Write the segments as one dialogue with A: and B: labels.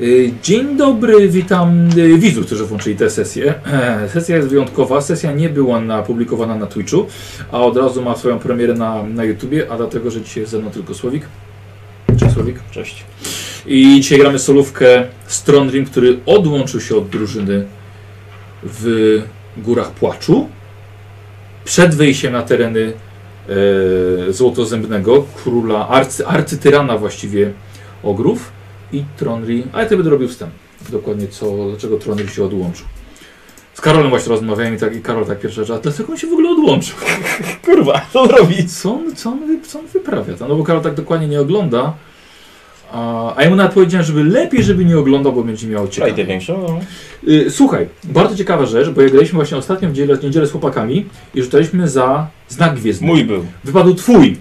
A: Y, Dzień dobry, witam y, widzów, którzy włączyli tę sesję. Sesja jest wyjątkowa, sesja nie była na, publikowana na Twitchu, a od razu ma swoją premierę na, na YouTubie, a dlatego, że dzisiaj jest ze mną tylko Słowik. Cześć Słowik.
B: Cześć.
A: I dzisiaj gramy solówkę Strondrim, który odłączył się od drużyny w Górach Płaczu przed wyjściem na tereny e, Złotozębnego, króla, arcy, arcytyrana właściwie Ogrów i Tronri, ale to będę robił wstęp, dokładnie co, dlaczego Tronri się odłączył. Z Karolem właśnie rozmawiałem i, tak, i Karol tak pierwsza rzecz, a dlaczego on się w ogóle odłączył?
B: Kurwa, co robić?
A: Co on, co on, wy- co on wyprawia? tam? No bo Karol tak dokładnie nie ogląda. A, a ja mu nawet powiedziałem, żeby lepiej, żeby nie oglądał, bo będzie miał
B: Frajdę
A: ciekawe.
B: większą. no.
A: Y, Słuchaj, bardzo ciekawa rzecz, bo jak graliśmy właśnie ostatnio w niedzielę, w niedzielę z chłopakami i rzucaliśmy za znak gwiezdny.
B: Mój był.
A: Wypadł twój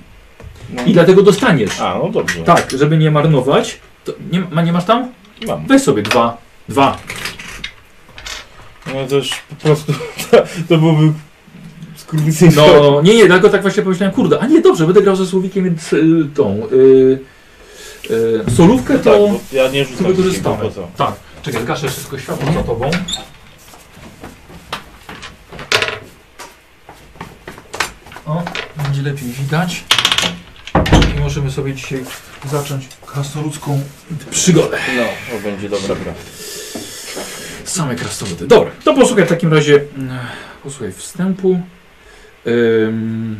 B: No.
A: i dlatego dostaniesz.
B: A, no dobrze.
A: Tak, żeby nie marnować. To nie, ma, nie masz tam?
B: Mam.
A: Weź sobie dwa. Dwa.
B: No to już po prostu to, to byłoby skurwysyjne.
A: No, nie, nie, dlatego tak właśnie pomyślałem, kurde, a nie, dobrze, będę grał ze Słowikiem więc, y, tą, y, y, solówkę
B: tak,
A: to...
B: bo ja nie
A: to
B: rzucam
A: wykorzystamy.
B: nikim, bo co?
A: Tak. Czekaj, zgaszę wszystko światło za tobą. O, będzie lepiej widać. I możemy sobie dzisiaj zacząć krasnoludzką przygodę.
B: No, to będzie dobra gra.
A: Same krasnoludy. Dobra, to posłuchaj w takim razie, mm, posłuchaj wstępu. Ym,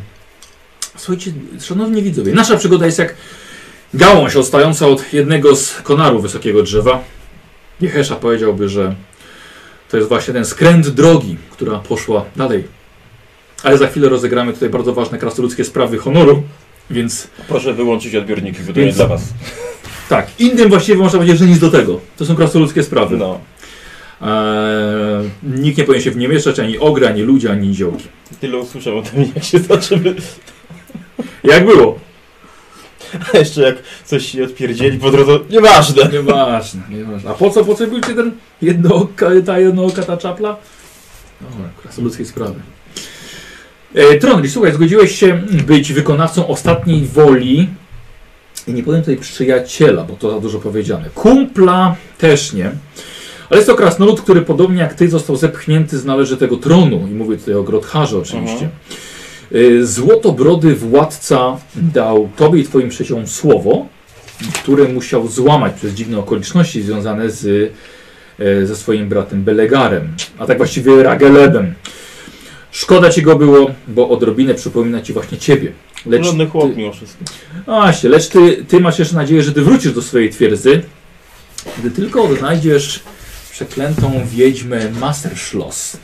A: słuchajcie, szanowni widzowie, nasza przygoda jest jak gałąź odstająca od jednego z konarów wysokiego drzewa. Jehesza powiedziałby, że to jest właśnie ten skręt drogi, która poszła dalej. Ale za chwilę rozegramy tutaj bardzo ważne krasnoludzkie sprawy honoru, więc
B: Proszę wyłączyć odbiorniki, bo to nie
A: Więc-
B: dla was.
A: tak, innym właściwie można powiedzieć, że nic do tego. To są krasnoludzkie sprawy.
B: No.
A: Eee, nikt nie powinien się w nie mieszać, ani ogra, ani ludzie, ani niziołki.
B: Tyle usłyszałem o tym, jak się zaczęły.
A: Jak było?
B: A jeszcze jak coś się odpierdzieli po drodze. Nieważne.
A: Nieważne, nieważne. A po co, po co był ci ten jednooka, ta jednooka, ta czapla? No, Dobra, krasnoludzkiej sprawy. E, Tronli, słuchaj, zgodziłeś się być wykonawcą ostatniej woli. I nie powiem tutaj przyjaciela, bo to za dużo powiedziane. Kumpla też nie. Ale jest to krasnolud, który podobnie jak ty został zepchnięty z należytego tronu. I mówię tutaj o Grotharze oczywiście. E, Złotobrody władca dał tobie i twoim przyjaciołom słowo, które musiał złamać przez dziwne okoliczności związane z, e, ze swoim bratem Belegarem, a tak właściwie Ragelebem. Szkoda ci go było, bo odrobinę przypomina ci właśnie ciebie. Lecz
B: Porządny chłop
A: ty-
B: mimo wszystko.
A: No Właśnie, lecz ty, ty masz jeszcze nadzieję, że ty wrócisz do swojej twierdzy, gdy tylko odnajdziesz przeklętą wiedźmę Masterschloss.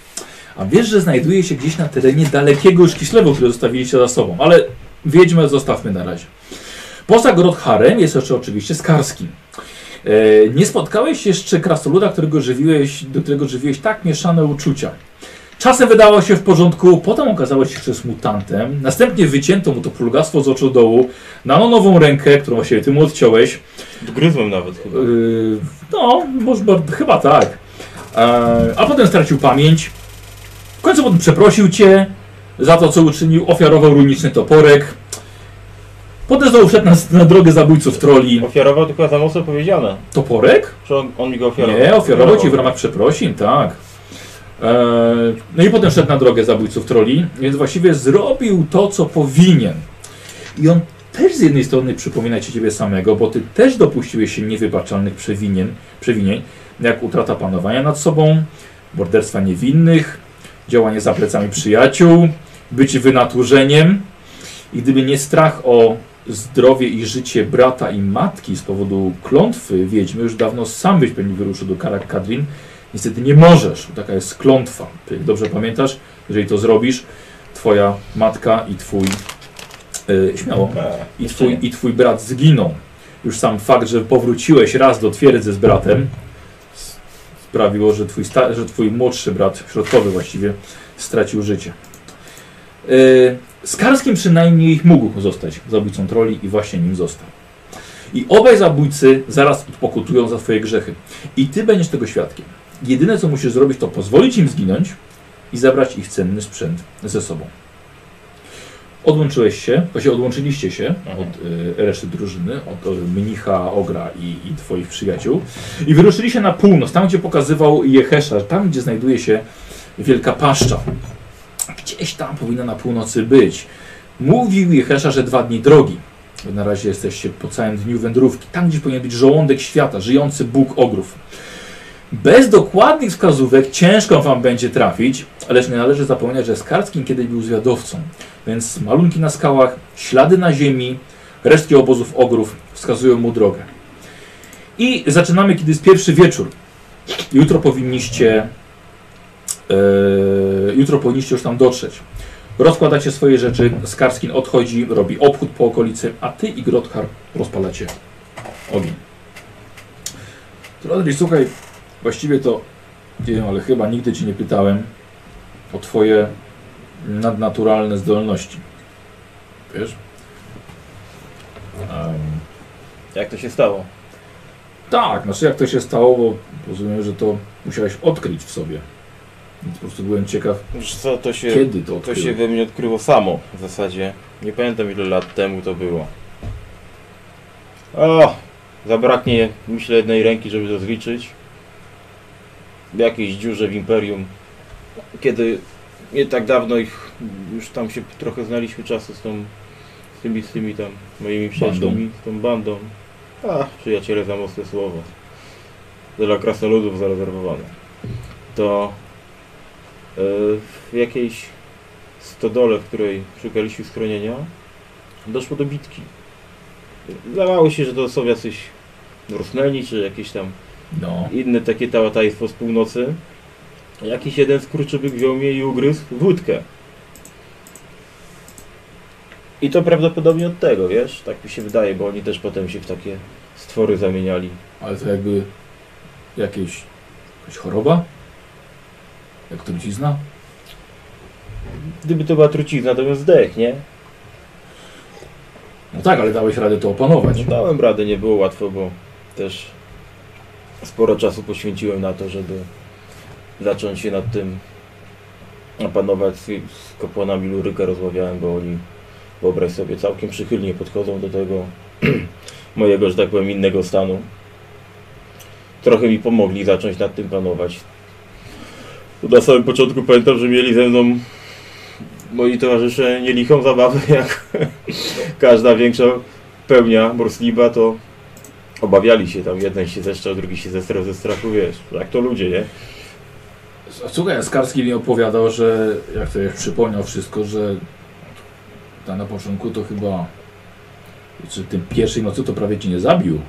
A: A wiesz, że znajduje się gdzieś na terenie dalekiego już Kislewu, który zostawiliście za sobą, ale wiedźmę zostawmy na razie. Poza Grodharem jest jeszcze oczywiście Skarski. E, nie spotkałeś jeszcze krasnoluda, którego żywiłeś, do którego żywiłeś tak mieszane uczucia. Czasem wydało się w porządku, potem okazało się, że jest mutantem, następnie wycięto mu to plugastwo z oczu dołu, Nano no, nową rękę, którą właściwie ty mu odciąłeś.
B: Gryzłem nawet chyba.
A: Yy, no, może, bar- chyba tak. E, a potem stracił pamięć. W końcu potem przeprosił cię za to, co uczynił. Ofiarował runiczny toporek. Potem znowu wszedł na, na drogę zabójców troli.
B: Ofiarował tylko za mocno powiedziane.
A: Toporek?
B: Czy on, on mi go ofiarował?
A: Nie, ofiarował ci w ramach przeprosin, tak. E, no i potem szedł na drogę zabójców troli, więc właściwie zrobił to, co powinien. I on też z jednej strony przypomina ci ciebie samego, bo ty też dopuściłeś się niewybaczalnych przewinien, przewinień, jak utrata panowania nad sobą, morderstwa niewinnych, działanie za plecami przyjaciół, bycie wynaturzeniem. I gdyby nie strach o zdrowie i życie brata i matki z powodu klątwy wiedźmy, już dawno sam byś pewnie wyruszył do Karak Kadrin. Niestety nie możesz, bo taka jest klątwa. Ty jak dobrze pamiętasz, jeżeli to zrobisz, twoja matka i twój, e, śmiało,
B: A,
A: i twój, i twój brat zginął. Już sam fakt, że powróciłeś raz do twierdzy z bratem s- sprawiło, że twój, sta- że twój młodszy brat, środkowy właściwie, stracił życie. Yy, z Karskim przynajmniej mógł zostać zabójcą troli i właśnie nim został. I obaj zabójcy zaraz odpokutują za swoje grzechy. I ty będziesz tego świadkiem. Jedyne co musisz zrobić to pozwolić im zginąć i zabrać ich cenny sprzęt ze sobą. Odłączyłeś się, właśnie odłączyliście się
B: Mhm.
A: od y, reszty drużyny, od y, mnicha, ogra i, i twoich przyjaciół i wyruszyliście na północ, tam gdzie pokazywał Jehesza, tam gdzie znajduje się Wielka Paszcza. Gdzieś tam powinna na północy być. Mówił Jehesza, że dwa dni drogi. Na razie jesteście po całym dniu wędrówki. Tam, gdzie powinien być żołądek świata, żyjący Bóg ogrów. Bez dokładnych wskazówek ciężko wam będzie trafić, lecz nie należy zapominać, że Skarskin kiedyś był zwiadowcą. Więc malunki na skałach, ślady na ziemi, resztki obozów ogrów wskazują mu drogę. I zaczynamy, kiedy jest pierwszy wieczór. Jutro powinniście. e, jutro powinniście już tam dotrzeć. Rozkładacie swoje rzeczy, Skarskin odchodzi, robi obchód po okolicy, a ty i Grothar rozpalacie ogień. Trondri, słuchaj, właściwie to nie wiem, ale chyba nigdy cię nie pytałem o twoje nadnaturalne zdolności. Wiesz? Em,
B: Jak to się stało?
A: tak, znaczy jak to się stało, bo rozumiem, że to musiałeś odkryć w sobie. Więc po prostu byłem ciekaw,
B: Wiesz co, to się...
A: kiedy to
B: To
A: odkryłeś.
B: się we mnie odkryło samo w zasadzie. Nie pamiętam ile lat temu to było. O! Zabraknie, myślę, jednej ręki, żeby to zliczyć. W jakiejś dziurze w Imperium. Kiedy nie tak dawno ich już tam się trochę znaliśmy czasu z tą z tymi, z tymi tam moimi przyjaciółmi, z tą bandą. A, przyjaciele za mocne słowo. Dla krasnoludów zarezerwowane. To e, w jakiejś stodole, w której szukaliśmy schronienia, doszło do bitki. Zdawało się, że to są jacyś Rosmeni, czy jakieś tam
A: No.
B: inne takie tałataństwo z północy. Jakiś jeden skurczybyk wziął mnie i ugryzł w łódkę. I to prawdopodobnie od tego, wiesz? Tak mi się wydaje, bo oni też potem się w takie stwory zamieniali.
A: Ale to jakby jakieś, jakaś choroba? Jak trucizna?
B: Gdyby to była trucizna, to bym zdech, nie?
A: No tak, ale dałeś radę to opanować.
B: No Dałem radę, nie było łatwo, bo też sporo czasu poświęciłem na to, żeby zacząć się nad tym opanować. Z, z kapłanami Luryka rozmawiałem, bo oni, wyobraź sobie, całkiem przychylnie podchodzą do tego mojego, że tak powiem, innego stanu. Trochę mi pomogli zacząć nad tym panować. Na samym początku pamiętam, że mieli ze mną moi towarzysze nielichą zabawę, jak każda większa pełnia morsliba, to obawiali się tam, jeden się zeszczał, drugi się zestrał ze strachu, wiesz, jak to ludzie, nie?
A: A Słuchaj, Skarski mi opowiadał, że jak sobie przypomniał wszystko, że ta na początku to chyba czy tym pierwszej nocy to prawie cię nie zabił.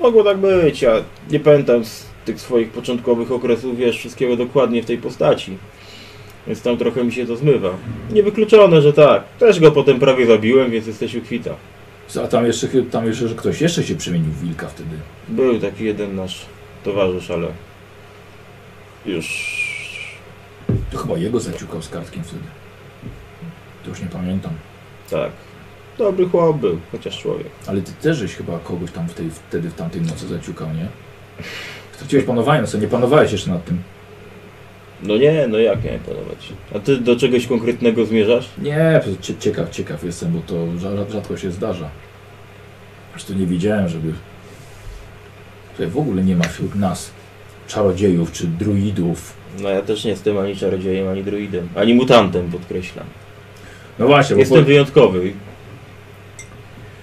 B: Mogło tak być, ja nie pamiętam z tych swoich początkowych okresów, wiesz, wszystkiego dokładnie w tej postaci. Więc tam trochę mi się to zmywa. Niewykluczone, że tak. Też go potem prawie zabiłem, więc jesteś u kwita.
A: A tam jeszcze, chy- tam jeszcze że ktoś jeszcze się przemienił w wilka wtedy.
B: Był taki jeden nasz towarzysz, ale już...
A: To chyba jego zaciukał z kartkiem wtedy. To już nie pamiętam.
B: tak. Dobry chłop był, chociaż człowiek.
A: Ale ty też żeś chyba kogoś tam w tej, wtedy w tamtej nocy zaciukał, nie? Straciłeś panowanie, co nie panowałeś jeszcze nad tym.
B: No nie, no jak miałem panować? A ty do czegoś konkretnego zmierzasz?
A: Nie, cie- ciekaw, ciekaw jestem, bo to rza- rzadko się zdarza. Zresztą nie widziałem, żeby... Tutaj w ogóle nie ma wśród nas czarodziejów czy druidów.
B: No ja też nie jestem ani czarodziejem, ani druidem, ani mutantem, podkreślam.
A: No właśnie, bo...
B: Jestem wyjątkowy.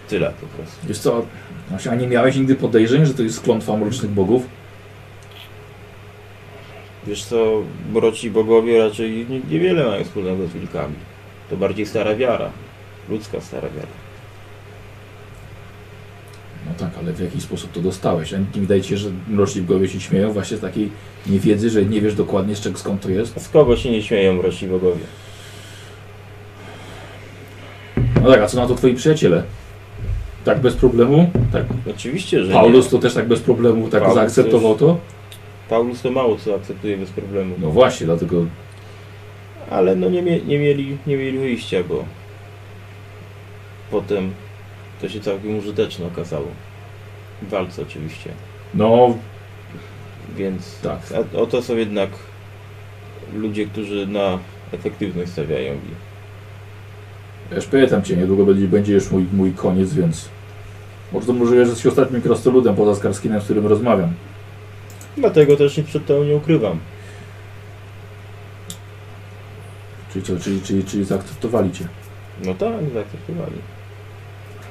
B: Tyle po prostu.
A: Wiesz co, właśnie, a nie miałeś nigdy podejrzeń, że to jest klątwa mrocznych bogów?
B: Wiesz co, mroci bogowie raczej nie- niewiele mają wspólnego z wilkami. To bardziej stara wiara. Ludzka stara wiara.
A: No tak, ale w jakiś sposób to dostałeś. A nie wydaje ci się, że mroczni bogowie się śmieją właśnie z takiej niewiedzy, że nie wiesz dokładnie z czego, skąd to jest?
B: Z kogo się nie śmieją mroci bogowie?
A: No tak, a co na to twoi przyjaciele? Tak bez problemu? Tak.
B: Oczywiście, że
A: Paulus
B: nie.
A: to też tak bez problemu tak
B: Paulus
A: zaakceptował to?
B: Paulus to mało co akceptuje bez problemu.
A: No właśnie, dlatego
B: Ale no nie, mie- nie, mieli, nie mieli wyjścia, bo potem to się całkiem użyteczne okazało. W walce oczywiście.
A: no
B: Więc
A: tak.
B: A o to są jednak ludzie, którzy na efektywność stawiają i
A: Ja już pytam cię, niedługo będzie, będzie już mój, mój koniec, więc... Może może że jesteś ostatnim krastoludem poza Skarskinem, z którym rozmawiam.
B: Dlatego też nic przed tobą nie ukrywam.
A: Czyli co, czyli, czyli, czyli zaakceptowali cię.
B: No tak, zaakceptowali.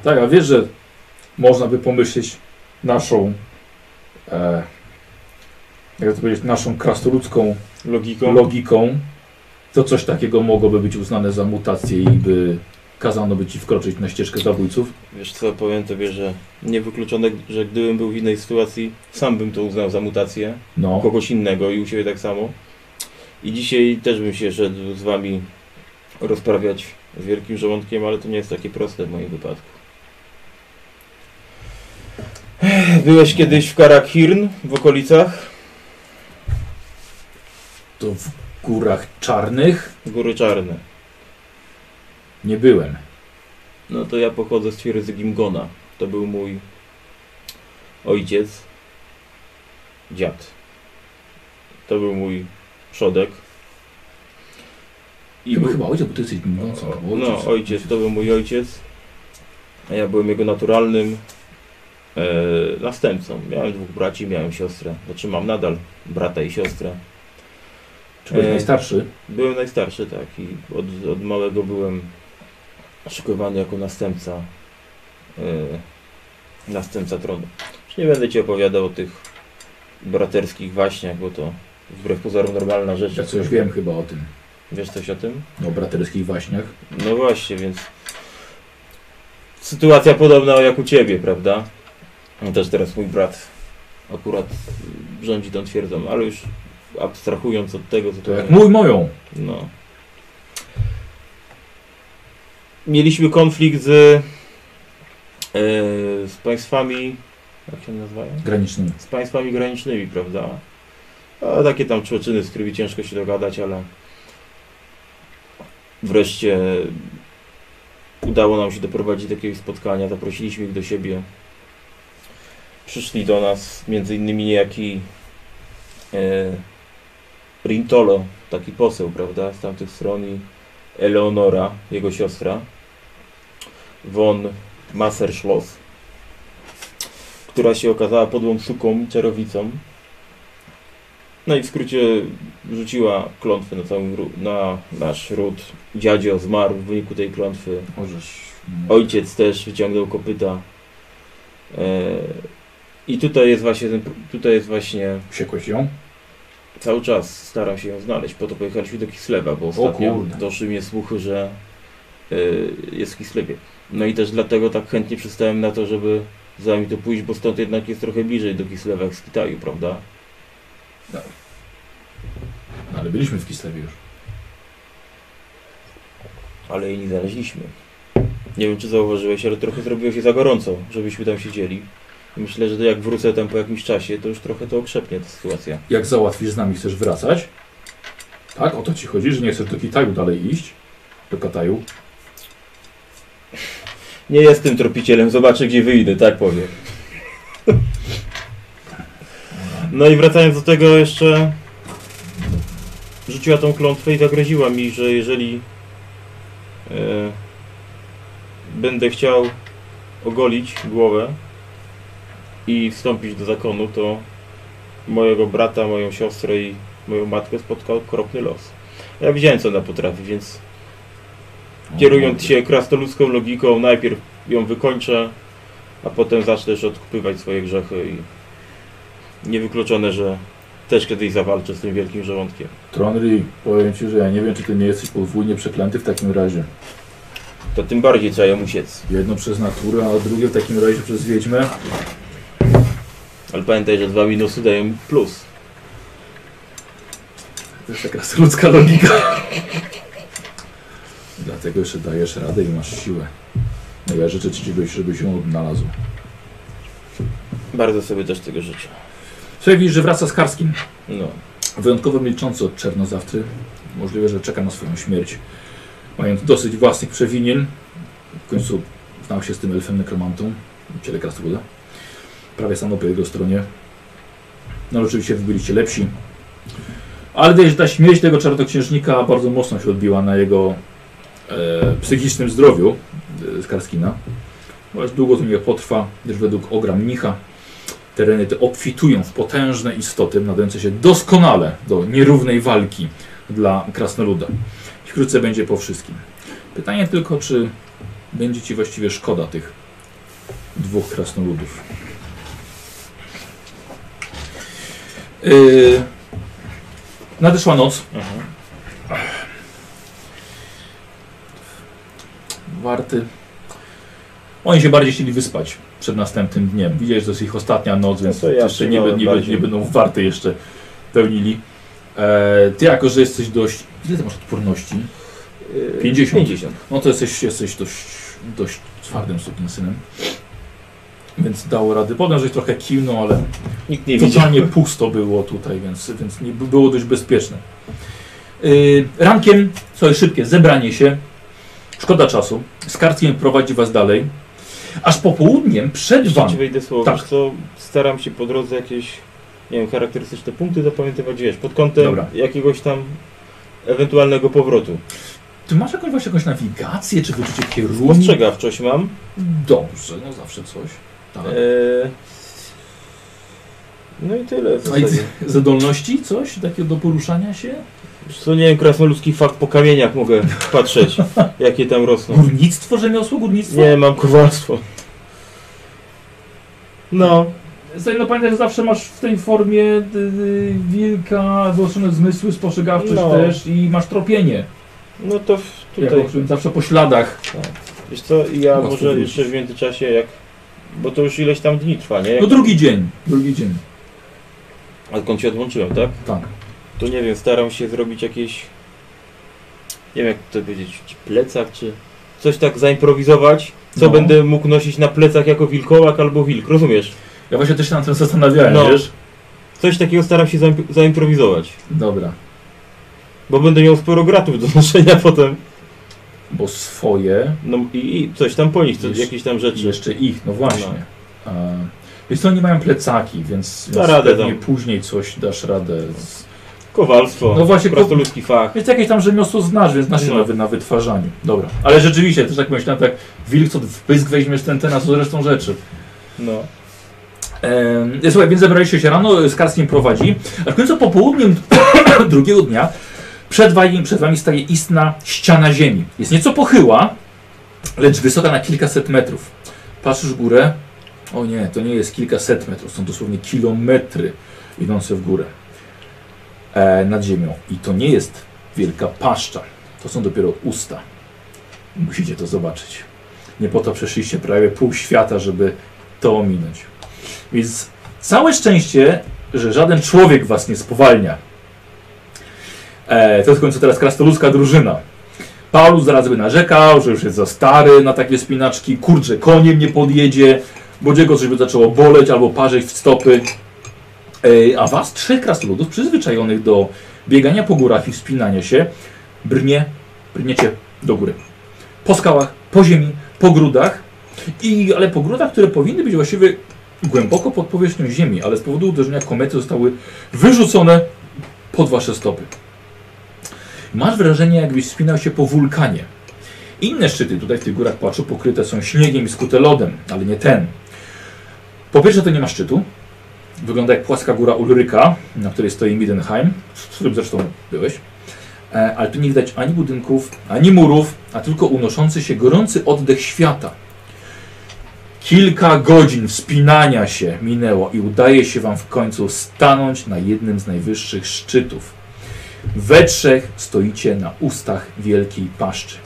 A: Tak, a wiesz, że można by pomyśleć naszą... E, jak to powiedzieć, naszą krastoludzką
B: Logiką?
A: logiką, to coś takiego mogłoby być uznane za mutację i by kazano by ci wkroczyć na ścieżkę zabójców.
B: Wiesz co, powiem tobie, że niewykluczone, że gdybym był w innej sytuacji, sam bym to uznał za mutację.
A: No,
B: kogoś innego i u siebie tak samo. I dzisiaj też bym się szedł z wami rozprawiać z wielkim żołądkiem, ale to nie jest takie proste w moim wypadku. Ech, Byłeś kiedyś w Karakhirn w okolicach
A: to w górach czarnych
B: Góry Czarne.
A: nie byłem.
B: No to ja pochodzę z twierdzy Gimgona. To był mój ojciec, dziad. To był mój przodek.
A: I
B: był-
A: chyba ojciec, bo ty jesteś mówiący.
B: O, No, ojciec, to był mój ojciec. A ja byłem jego naturalnym e, następcą. Miałem dwóch braci, miałem siostrę. Znaczy mam nadal brata i siostrę.
A: Czy byłeś
B: e,
A: najstarszy?
B: Byłem najstarszy, tak. I od, od małego byłem szykowany jako następca e, następca tronu. Już nie będę Ci opowiadał o tych braterskich waśniach, bo to wbrew pozorom normalna rzecz.
A: Ja coś wiem chyba o tym. no,
B: Wiesz coś o tym?
A: O braterskich waśniach.
B: No właśnie, więc sytuacja podobna jak u ciebie, prawda? No Też teraz mój brat akurat y, rządzi tą twierdzą, ale już abstrahując od tego, co
A: To jak
B: tutaj-
A: mój moją.
B: No. Mieliśmy konflikt z, e, z państwami, jak się nazywają?
A: Granicznym.
B: z państwami granicznymi, prawda? A takie tam człoczyny, z którymi ciężko się dogadać, ale wreszcie udało nam się doprowadzić do jakiegoś spotkania, zaprosiliśmy ich do siebie. Przyszli do nas między innymi niejaki e, Rintolo, taki poseł, prawda, z tamtych stron i Eleonora, jego siostra, von Masserschloss która się okazała podłą suką, czarownicą. No i w skrócie rzuciła klątwę na, całą, na nasz ród. Dziadzio zmarł w wyniku tej klątwy.
A: Możesz. mm,
B: Ojciec też wyciągnął kopyta. E, I tutaj jest właśnie ten, tutaj jest właśnie
A: Wsiekłeś ją?
B: cały czas staram się ją znaleźć. Po to pojechaliśmy do Kislewa, bo ostatnio
A: kurde.
B: doszły mnie słuchy, że e, jest w Kislewie. No i też dlatego tak chętnie przystałem na to, żeby za nami tu pójść, bo stąd jednak jest trochę bliżej do Kislewa jak z Kitaju, prawda?
A: No, ale byliśmy w Kislewie już.
B: Ale jej nie znaleźliśmy. Nie wiem, czy zauważyłeś, ale trochę zrobiło się za gorąco, żebyśmy tam siedzieli. I Myślę, że jak wrócę tam po jakimś czasie, to już trochę to okrzepnie ta sytuacja.
A: Jak załatwisz z nami, chcesz wracać? Tak? O to ci chodzi, że nie chcesz do Kitaju dalej iść? Do Kataju?
B: Nie jestem tropicielem, zobaczę gdzie wyjdę, tak powiem. No i wracając do tego jeszcze rzuciła tą klątwę i zagroziła mi, że jeżeli e, będę chciał ogolić głowę i wstąpić do zakonu, to mojego brata, moją siostrę i moją matkę spotkał okropny los. Ja widziałem co ona potrafi, więc
A: No,
B: Kierując się krastoludzką logiką, najpierw ją wykończę, a potem zacznę też odkupywać swoje grzechy i niewykluczone, że też kiedyś zawalczę z tym wielkim żołądkiem.
A: Tronry, powiem ci, że ja nie wiem, czy ty nie jesteś podwójnie przeklęty w takim razie.
B: To tym bardziej trzeba ją uciec.
A: Jedno przez naturę, a drugie w takim razie przez wiedźmę.
B: Ale pamiętaj, że dwa minusy dają plus.
A: To jest taka ludzka logika. Dlatego jeszcze dajesz radę i masz siłę. No ja życzę ci, żebyś, żebyś ją odnalazł.
B: Bardzo sobie też tego życzę.
A: Słuchaj, widzisz, że wraca z Karskim.
B: No.
A: Wyjątkowo milczący od czernozawcy. Możliwe, że czeka na swoją śmierć. Mając dosyć własnych przewinień. W końcu znał się z tym elfem nekromantą. w Ciele Krasnoluda. Prawie stanął po jego stronie. No ale oczywiście wy byliście lepsi. Ale wiesz, ta śmierć tego czarnoksiężnika bardzo mocno się odbiła na jego e, psychicznym zdrowiu e, Skarskina. Chociaż długo to nie potrwa, gdyż według Ogra Mnicha tereny te obfitują w potężne istoty, nadające się doskonale do nierównej walki dla krasnoluda. I Wkrótce będzie po wszystkim. Pytanie tylko, czy będzie ci właściwie szkoda tych dwóch krasnoludów. Yy, nadeszła noc.
B: Mhm.
A: Warty. Oni się bardziej chcieli wyspać przed następnym dniem. Widziałeś, że to jest ich ostatnia noc, więc
B: No to ja
A: jeszcze nie,
B: przyjąłem
A: bę- nie, bę-
B: bardziej.
A: nie będą warty jeszcze pełnili. E, ty jako, że jesteś dość... Ile ty masz odporności?
B: Yy,
A: 50.
B: 50.
A: No to jesteś, jesteś dość, dość twardym synem. Więc dało rady. Podam, żeś trochę kiwnął, ale
B: Nikt nie widział.
A: Totalnie pusto było tutaj, więc, więc nie, było dość bezpieczne. Yy, rankiem, co jest szybkie, zebranie się. Szkoda czasu. Skartkiem prowadzi was dalej. Aż popołudniem przed
B: Jeszcze
A: wami.
B: ci wejdę słowo,
A: Tak.
B: tak. co staram się po drodze jakieś, nie wiem, charakterystyczne punkty zapamiętywać, wiesz, pod kątem
A: Dobra.
B: jakiegoś tam ewentualnego powrotu.
A: Ty masz jakąś, właśnie jakąś nawigację, czy wyczucie kierunku?
B: Ostrzegawczość mam.
A: Dobrze, no zawsze coś. Tak.
B: Eee, no i tyle. W
A: A i
B: zasadzie.
A: E, zdolności? Coś takiego do poruszania się?
B: Wiesz Co nie wiem, krasnoludzki fakt po kamieniach mogę patrzeć, jakie tam rosną.
A: Górnictwo, rzemiosło, górnictwo?
B: Tak. Nie, mam kowalstwo. No,
A: Zajno pamiętaj, że zawsze masz w tej formie y, y, wilka, wyostrzone zmysły, spostrzegawczość
B: No.
A: też i masz tropienie.
B: no to w,
A: Tutaj.
B: tutaj.
A: zawsze po śladach.
B: Wiesz co, ja
A: Łatwo
B: może
A: wrócić.
B: jeszcze w międzyczasie jak... Bo to już ileś tam dni trwa, nie?
A: No drugi dzień. Drugi dzień.
B: A skąd się odłączyłem, tak?
A: Tak.
B: To nie wiem, staram się zrobić jakieś... Nie wiem jak to powiedzieć, czy plecak, czy... Coś tak zaimprowizować, co
A: No.
B: będę mógł nosić na plecach jako wilkołak albo wilk, rozumiesz?
A: Ja właśnie też się nad tym zastanawiałem,
B: No.
A: wiesz?
B: Coś takiego staram się zaimp- zaimprowizować.
A: Dobra.
B: Bo będę miał sporo gratów do noszenia potem.
A: Bo swoje
B: No i, i coś tam po nich, co,
A: Jest-
B: jakieś tam
A: i
B: rzeczy.
A: jeszcze ich, no właśnie. No. Więc to oni mają plecaki, więc,
B: Da
A: więc
B: radę no.
A: pewnie
B: tam.
A: później coś dasz radę. Z...
B: Kowalstwo,
A: No właśnie, ko-
B: prostoludzki fach.
A: Więc jakieś tam rzemiosło znasz, więc znasz się
B: No.
A: nawet na wytwarzaniu. Dobra. Ale rzeczywiście, też tak myślałem, tak wilk co w pysk weźmiesz ten, ten, a co zresztą rzeczy.
B: No.
A: Em, Słuchaj, więc zebraliście się rano, Skarskim prowadzi, a w końcu popołudniem drugiego dnia przed wami, przed wami staje istna ściana ziemi. Jest nieco pochyła, lecz wysoka na kilkaset metrów. Patrzysz w górę, o nie, to nie jest kilkaset metrów, są dosłownie kilometry idące w górę e, nad ziemią. I to nie jest wielka paszcza, to są dopiero usta. Musicie to zobaczyć. Nie po to przeszliście prawie pół świata, żeby to ominąć. Więc całe szczęście, że żaden człowiek was nie spowalnia. E, to w końcu teraz krastoludzka drużyna. Paulus zaraz by narzekał, że już jest za stary na takie spinaczki, kurczę, koniem nie podjedzie, Bodziego coś by zaczęło boleć albo parzyć w stopy. E, a was, trzech krasnoludów, przyzwyczajonych do biegania po górach i wspinania się, brnie, brniecie do góry. Po skałach, po ziemi, po grudach, i, ale po grudach, które powinny być właściwie głęboko pod powierzchnią Ziemi, ale z powodu uderzenia komety zostały wyrzucone pod wasze stopy. Masz wrażenie, jakbyś wspinał się po wulkanie. Inne szczyty tutaj w tych górach płaczu pokryte są śniegiem i skute lodem, ale nie ten. Po pierwsze, to nie ma szczytu. Wygląda jak płaska góra Ulryka, na której stoi Midenheim, w którym zresztą byłeś. E, Ale tu nie widać ani budynków, ani murów, a tylko unoszący się gorący oddech świata. Kilka godzin wspinania się minęło i udaje się Wam w końcu stanąć na jednym z najwyższych szczytów. We trzech stoicie na ustach wielkiej paszczy.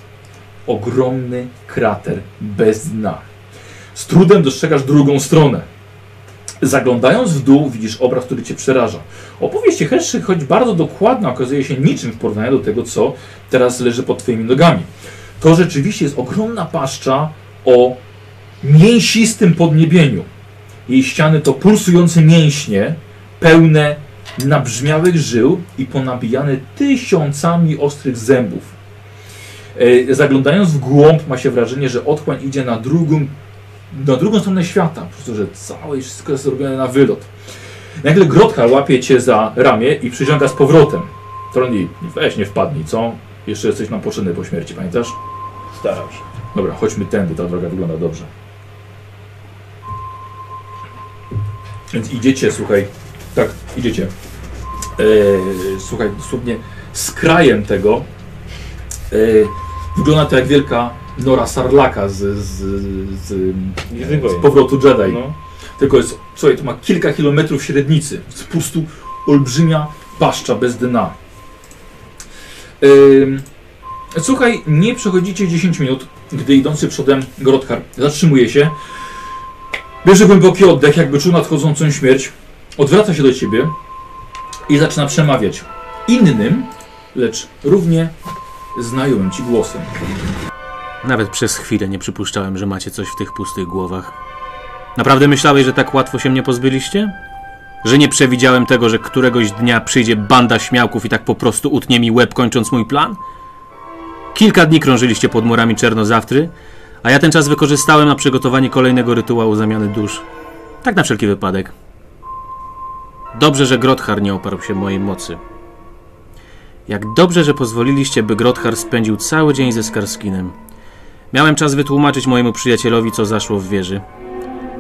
A: Ogromny krater bez dna. Z trudem dostrzegasz drugą stronę. Zaglądając w dół, widzisz obraz, który Cię przeraża. Opowieść Heszy, choć bardzo dokładna, okazuje się niczym w porównaniu do tego, co teraz leży pod Twoimi nogami. To rzeczywiście jest ogromna paszcza o mięsistym podniebieniu. Jej ściany to pulsujące mięśnie, pełne nabrzmiałych żył i ponabijane tysiącami ostrych zębów. E, Zaglądając w głąb ma się wrażenie, że otchłań idzie na drugą, na drugą stronę świata, po prostu, że całe wszystko jest zrobione na wylot. Nagle grotka łapie cię za ramię i przyciąga z powrotem. Troni, weź nie wpadnij, co? Jeszcze jesteś nam potrzebny po śmierci, pamiętasz?
B: Starał się.
A: Dobra, chodźmy tędy, ta droga wygląda dobrze. Więc idziecie, słuchaj, tak, idziecie. Eee, słuchaj, dosłownie z krajem tego eee, wygląda to jak wielka nora sarlaka z, z, z,
B: Gwiezdnych
A: z
B: Wojen.
A: powrotu Jedi.
B: No.
A: Tylko jest, słuchaj, to ma kilka kilometrów średnicy. To jest po prostu olbrzymia paszcza bez dna. Ym, słuchaj, nie przechodzicie 10 minut, gdy idący przodem Grotkar zatrzymuje się, bierze głęboki oddech, jakby czuł nadchodzącą śmierć, odwraca się do ciebie i zaczyna przemawiać innym, lecz równie znajomym ci głosem.
C: Nawet przez chwilę nie przypuszczałem, że macie coś w tych pustych głowach. Naprawdę myślałeś, że tak łatwo się mnie pozbyliście? Że nie przewidziałem tego, że któregoś dnia przyjdzie banda śmiałków i tak po prostu utnie mi łeb, kończąc mój plan? Kilka dni krążyliście pod murami Czernozawtry, a ja ten czas wykorzystałem na przygotowanie kolejnego rytuału zamiany dusz. Tak na wszelki wypadek. Dobrze, że Grothar nie oparł się mojej mocy. Jak dobrze, że pozwoliliście, by Grothar spędził cały dzień ze Skarskinem. Miałem czas wytłumaczyć mojemu przyjacielowi, co zaszło w wieży.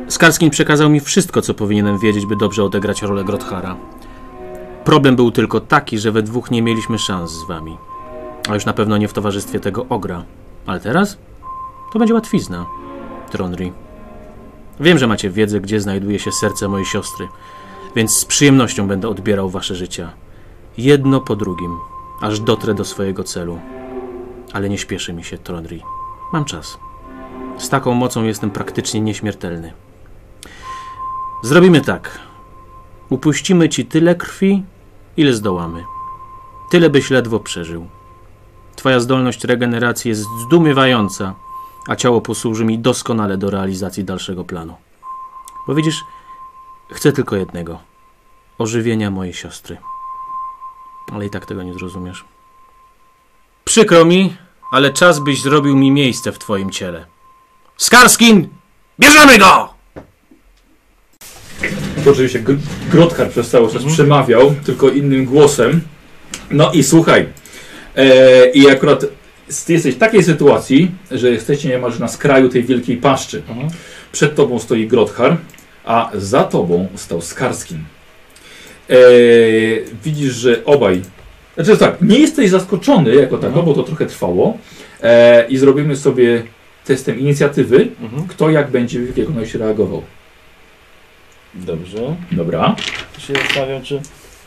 C: Skarskin przekazał mi wszystko, co powinienem wiedzieć, by dobrze odegrać rolę Grothara. Problem był tylko taki, że we dwóch nie mieliśmy szans z wami. A już na pewno nie w towarzystwie tego ogra. Ale teraz? To będzie łatwizna. Tronry. Wiem, że macie wiedzę, gdzie znajduje się serce mojej siostry, więc z przyjemnością będę odbierał wasze życia. Jedno po drugim, aż dotrę do swojego celu. Ale nie śpieszy mi się, Tronry. Mam czas. Z taką mocą jestem praktycznie nieśmiertelny. Zrobimy tak. Upuścimy ci tyle krwi, ile zdołamy. Tyle byś ledwo przeżył. Twoja zdolność regeneracji jest zdumiewająca, a ciało posłuży mi doskonale do realizacji dalszego planu. Bo widzisz, chcę tylko jednego: ożywienia mojej siostry. Ale i tak tego nie zrozumiesz. Przykro mi, ale czas byś zrobił mi miejsce w twoim ciele. Skarskin! Bierzemy go!
A: To Oczywiście Gr- Grothar przez cały czas przemawiał, tylko innym głosem. No i słuchaj, e, i akurat s- ty jesteś w takiej sytuacji, że jesteście niemalże na skraju tej wielkiej paszczy.
B: Mhm.
A: Przed tobą stoi Grothar, a za tobą stał Skarskin. E, widzisz, że obaj... Znaczy tak, nie jesteś zaskoczony jako tako,
B: Mhm.
A: bo to trochę trwało. E, I zrobimy sobie testem inicjatywy,
B: Mhm.
A: kto jak będzie w jakiej kolejności reagował.
B: Dobrze.
A: Dobra.
B: Się zastanawiam, czy...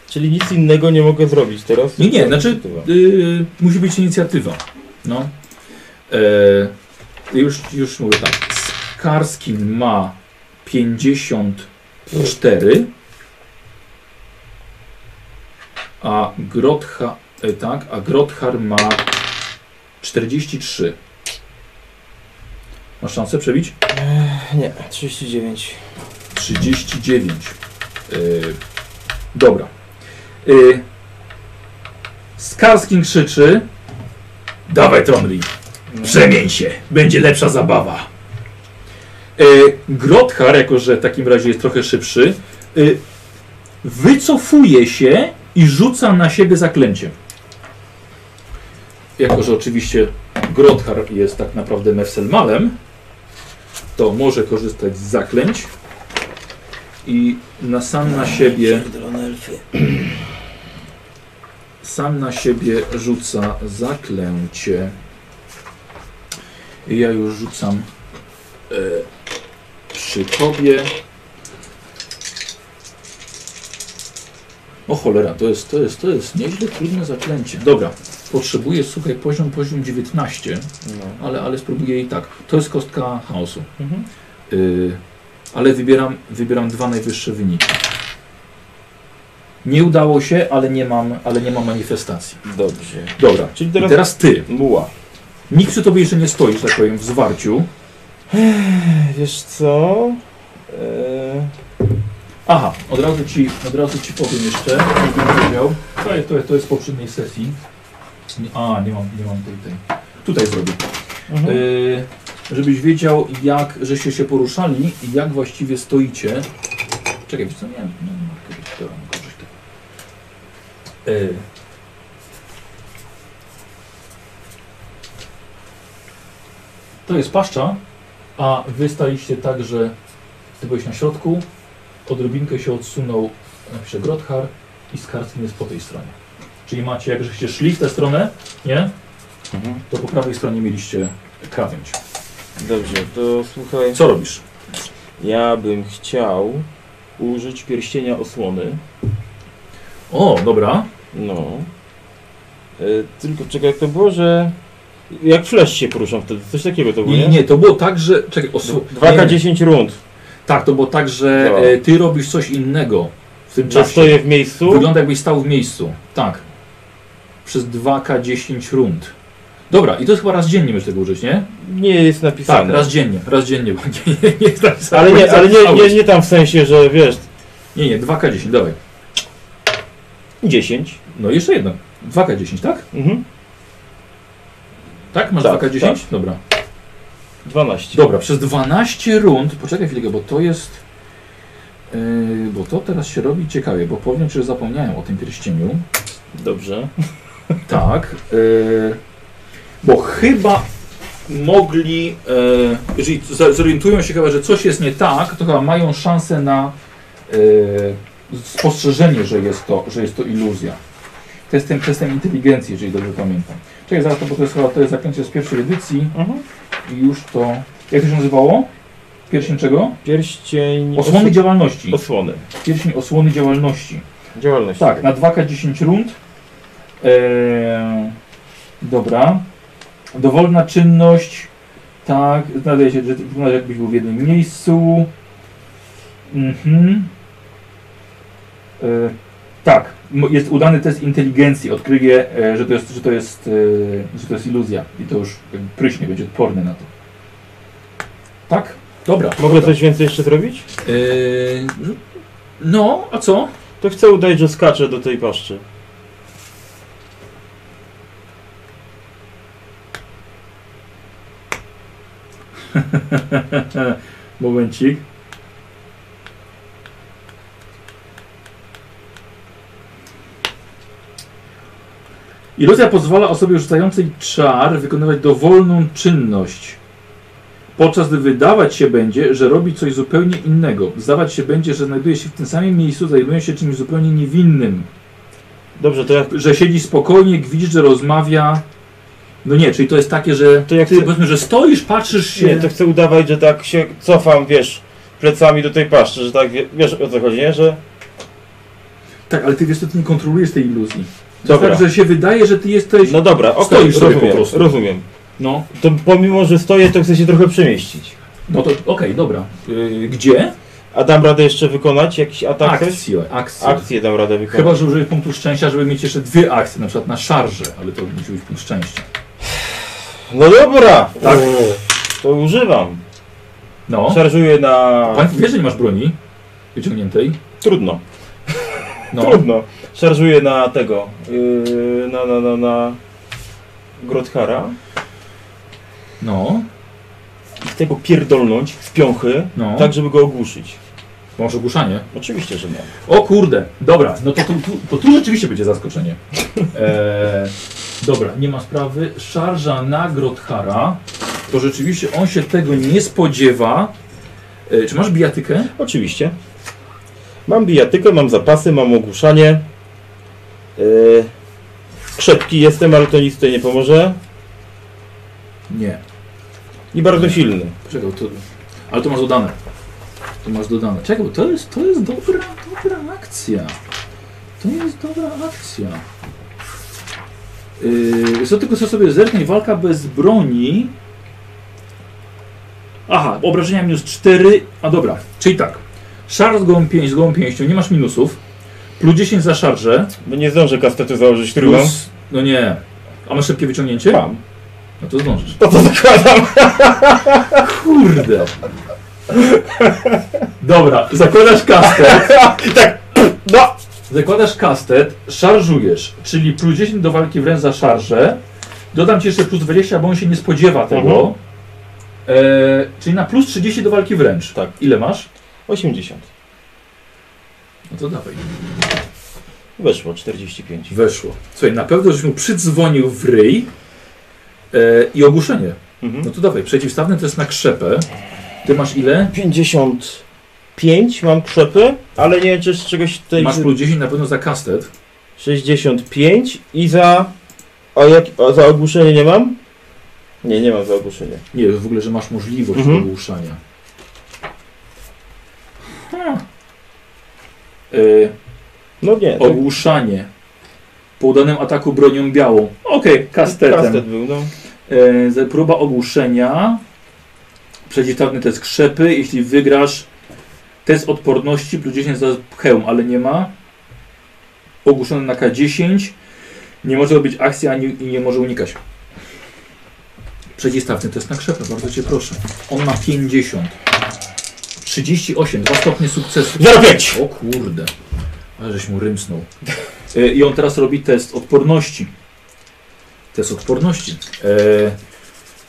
B: Czyli nic innego nie mogę zrobić teraz?
A: Nie, nie, znaczy y, musi być inicjatywa. No. E, już, już mówię tak. Skarskin ma 54, a Grotha, e, tak, a Grothar ma 43. Masz szansę przebić?
B: Nie, 39.
A: 39. Yy, dobra. Yy, Skarskin krzyczy. Dawaj, Tronli,
B: No.
A: przemień się, będzie lepsza zabawa. Yy, Grothar, jako że w takim razie jest trochę szybszy, yy, wycofuje się i rzuca na siebie zaklęcie. Jako, że oczywiście Grothar jest tak naprawdę Mefselmalem, to może korzystać z zaklęć i na sam na siebie
B: Pierdolone elfy.
A: sam na siebie rzuca zaklęcie. Ja już rzucam e, przy tobie. O cholera, to jest, to jest, to jest nieźle trudne zaklęcie. Dobra, potrzebuję, słuchaj, poziom, poziom 19,
B: No.
A: ale, ale spróbuję i tak. To jest kostka chaosu.
B: Mhm.
A: Y, ale wybieram, wybieram dwa najwyższe wyniki. Nie udało się, ale nie mam, ale nie mam manifestacji.
B: Dobrze.
A: Dobra.
B: Czyli
A: I
B: teraz...
A: teraz ty.
B: Muła.
A: Nikt przy tobie jeszcze nie stoi, że tak powiem, w zwarciu.
B: Wiesz co? Eee...
A: E, Aha, od razu ci, od razu ci powiem jeszcze, jakbym powiedział. To jest, to jest, to jest z poprzedniej sesji. Nie- A, nie mam, nie mam tej, tej. Tutaj zrobię.
B: Mhm.
A: Y, żebyś wiedział, jak, żeście się poruszali i jak właściwie stoicie. Czekaj, wiesz co, nie wiem, nie mam markery. Dobra, mogę użyć tego. Y. To jest paszcza, a wy staliście tak, że ty byłeś na środku, odrobinkę się odsunął, napisze Grothar i Skarskin jest po tej stronie. Czyli macie, jak żeście szli w tę stronę, nie?
B: Mhm.
A: To po prawej stronie mieliście krawędź.
B: Dobrze, to słuchaj.
A: Co robisz?
B: Ja bym chciał użyć pierścienia osłony.
A: O, dobra.
B: No. E, tylko czekaj, jak to było, że. Jak flash się poruszam wtedy, coś takiego to było.
A: Nie, nie, nie, to było tak, że... Czekaj, osłon...
B: 2K10 rund.
A: Tak, to było tak, że
B: Działa.
A: e, ty robisz coś innego w tym
B: Że
A: czasie.
B: stoję w miejscu.
A: Wygląda jakbyś stał w miejscu. Tak. Przez 2K10 rund. Dobra, i to jest chyba raz dziennie możesz tego użyć, nie?
B: Nie jest
A: Tak,
B: napisane.
A: raz dziennie, raz dziennie, bo nie, nie, nie tak jest napisane,
B: ale
A: bo
B: nie, ale nie,
A: zapisałeś.
B: nie, nie tam w sensie, że wiesz.
A: Nie, nie, 2K10, dawaj.
B: 10.
A: No jeszcze jedno. 2K10, tak?
B: Mhm.
A: Tak? Masz
B: Tak,
A: 2K10?
B: tak.
A: Dobra.
B: 12.
A: Dobra, przez 12 rund, poczekaj chwilkę, bo to jest... Yy, bo to teraz się robi ciekawie, bo powiem, że zapomniałem o tym pierścieniu.
B: Dobrze.
A: Tak. e, bo chyba mogli, e, jeżeli z- zorientują się chyba, że coś jest nie tak, to chyba mają szansę na e, spostrzeżenie, że jest to, że jest to iluzja. Testem, testem inteligencji, jeżeli dobrze pamiętam. Czekaj, zaraz to, bo to jest chyba to jest zaklęcie z pierwszej edycji
B: Mhm.
A: i już to... Jak to się nazywało? Pierścień czego?
B: Pierścień.
A: Osłony działalności.
B: osłony.
A: Pierścień osłony działalności.
B: Działalność.
A: Tak, na 2K10 rund. Eee, dobra. Dowolna czynność. Tak, znajduje się, że wygląda jakbyś był w jednym miejscu. Mhm. Eee, tak, m- jest udany test inteligencji. Odkryje, e, że to jest, że to jest, e, że to jest iluzja. I to już jakby pryśnie, będzie odporny na to. Tak? Dobra.
B: Mogę coś więcej jeszcze zrobić?
A: Eee, no, a co?
B: To chcę udać, że skaczę do tej paszczy.
A: Momencik. Iluzja pozwala osobie rzucającej czar wykonywać dowolną czynność. Podczas gdy wydawać się będzie, że robi coś zupełnie innego. Zdawać się będzie, że znajduje się w tym samym miejscu, zajmuje się czymś zupełnie niewinnym.
B: Dobrze, to jak.
A: Że siedzi spokojnie, widzisz, że rozmawia. No nie, czyli to jest takie, że
B: To jak
A: ty
B: chce-
A: powiedzmy, że stoisz, patrzysz się.
B: Nie, to chcę udawać, że tak się cofam, wiesz, plecami do tej paszczy, że tak wie- wiesz o co chodzi, nie? Że.
A: Tak, ale ty wiesz, że ty nie kontrolujesz tej iluzji. To
B: Dobra.
A: tak, że się wydaje, że ty jesteś.
B: No dobra, okej,
A: Stoisz sobie po
B: rozumiem,
A: prostu.
B: rozumiem.
A: No,
B: To pomimo, że stoję, to chcę się trochę przemieścić.
A: no to okej, dobra. Yy, Gdzie?
B: A dam radę jeszcze wykonać jakiś atak? coś?
A: Akcje. akcje.
B: Akcję dam radę wykonać.
A: Chyba, że użyjesz punktu szczęścia, żeby mieć jeszcze dwie akcje, na przykład na szarże, ale to musi być punkt szczęścia.
B: No dobra!
A: Tak.
B: O, To używam.
A: No.
B: Szarżuję na...
A: Pan wie, że nie masz broni wyciągniętej.
B: Trudno,
A: No.
B: trudno. Szarżuję na tego, yy, na, na, na, na... Grothara.
A: No.
B: I chcę go pierdolnąć w piąchy,
A: No.
B: tak żeby go ogłuszyć.
A: Masz ogłuszanie.
B: Oczywiście, że nie.
A: O kurde, dobra, no to tu, tu, to tu rzeczywiście będzie zaskoczenie. Eee, dobra, nie ma sprawy. Szarża na Grothara. To rzeczywiście on się tego nie spodziewa. E, czy masz bijatykę?
B: Oczywiście. Mam bijatykę, mam zapasy, mam ogłuszanie. Yy, krzepki jestem, ale to nic tutaj nie pomoże.
A: Nie.
B: I bardzo silny.
A: Czekaj, to... Ale to masz dodane. To masz dodane. Czekaj, bo to jest, to jest dobra, dobra akcja. To jest dobra akcja. Yy, co tylko chcę sobie zerknąć, walka bez broni. Aha, obrażenia minus 4. A dobra, czyli tak. Szar z gołą 5, z gołą pięścią, nie masz minusów. Plus 10 za szarże.
B: Bo nie zdążę kastetu założyć trudno.
A: Plus, no nie. A masz szybkie wyciągnięcie?
B: Mam.
A: No to zdążysz.
B: To co zakładam?
A: Kurde. Dobra, zakładasz kastet.
B: I tak, no!
A: Zakładasz kastet, szarżujesz, czyli plus 10 do walki wręcz za szarżę. Dodam ci jeszcze plus 20, bo on się nie spodziewa tego.
B: Mhm.
A: E, czyli na plus 30 do walki wręcz.
B: Tak.
A: Ile masz?
B: 80.
A: No to dawaj.
B: Weszło 45.
A: Weszło. Słuchaj, na pewno żeś mu przydzwonił w ryj e, i ogłuszenie.
B: Mhm.
A: No to dawaj, przeciwstawny to jest na krzepę. Ty masz ile?
B: 55 mam krzepy, ale nie wiem czy z czegoś tutaj...
A: Masz plus 10 na pewno za kastet.
B: 65 i za... A jak, a za ogłuszenie nie mam? Nie, nie mam za ogłuszenie.
A: Nie, w ogóle, że masz możliwość
B: Mhm.
A: ogłuszania. Y,
B: No nie. tak.
A: ogłuszanie. Po udanym ataku bronią białą. Okej, kastetem.
B: Kastet był, no.
A: E, z- próba ogłuszenia. Przeciwstawny test krzepy. Jeśli wygrasz test odporności plus 10 za hełm, ale nie ma. Ogłuszony na K10. Nie może robić akcji ani i nie może unikać. Przeciwstawny test na krzepę, bardzo cię proszę. On ma 50. 38, dwa stopnie sukcesu.
B: 05!
A: O kurde, ale żeś mu rymsnął. E, I on teraz robi test odporności. Test odporności. E,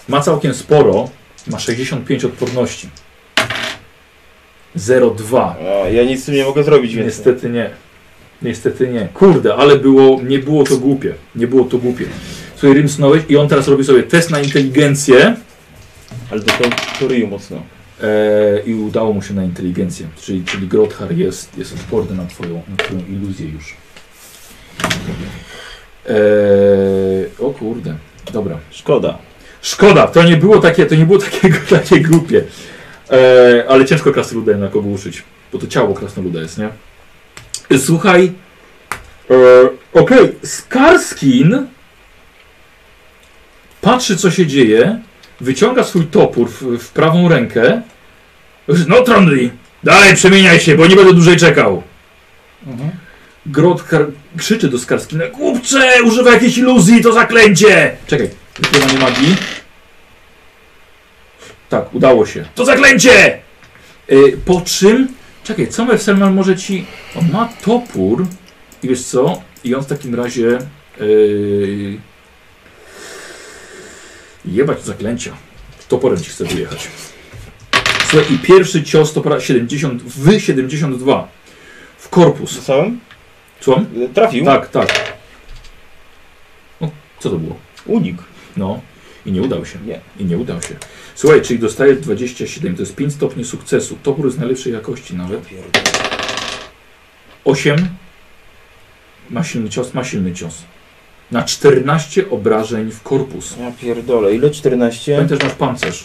A: ma całkiem sporo. Ma 65 odporności. 0,2.
B: A, ja nic z tym nie mogę zrobić, więc...
A: Niestety nie. Niestety nie. Kurde, ale było, nie było to głupie. Nie było to głupie. Słuchaj, rymsnąłeś i on teraz robi sobie test na inteligencję.
B: Ale do teorii mocno.
A: E, I udało mu się na inteligencję. Czyli, czyli Grothar jest, jest odporny na twoją, na twoją iluzję już. E, o kurde. Dobra.
B: Szkoda.
A: Szkoda, to nie było takie, to nie było takiego, takie głupie. E, ale ciężko krasnoluda jednak ogłuszyć, bo to ciało krasnoluda jest, nie? Słuchaj. E, Okej, Skarskin patrzy, co się dzieje, wyciąga swój topór w, w prawą rękę. No, Trondri, dalej przemieniaj się, bo nie będę dłużej czekał. Grot kar- krzyczy do Skarskina, głupcze, używa jakiejś iluzji, to zaklęcie! Czekaj, wykrywanie magii. Tak, udało się. To zaklęcie! Y, po czym, czekaj, co Selman może ci... On ma topór i wiesz co, i on w takim razie... Yy... Jebać zaklęcia. Toporem ci chce wyjechać. Słuchaj, i pierwszy cios topora 70, w 72. W korpus.
B: Zostałem?
A: Słucham?
B: E, Trafił?
A: Tak, tak. No, co to było?
B: Unik.
A: No. I nie udał się.
B: Nie.
A: I nie udał się. Słuchaj, czyli dostajesz 27, to jest 5 stopni sukcesu. Topór jest najlepszej jakości nawet. 8. Ma silny cios, ma silny cios. Na 14 obrażeń w korpus.
B: Ja pierdolę. Ile 14?
A: Ten też masz pancerz.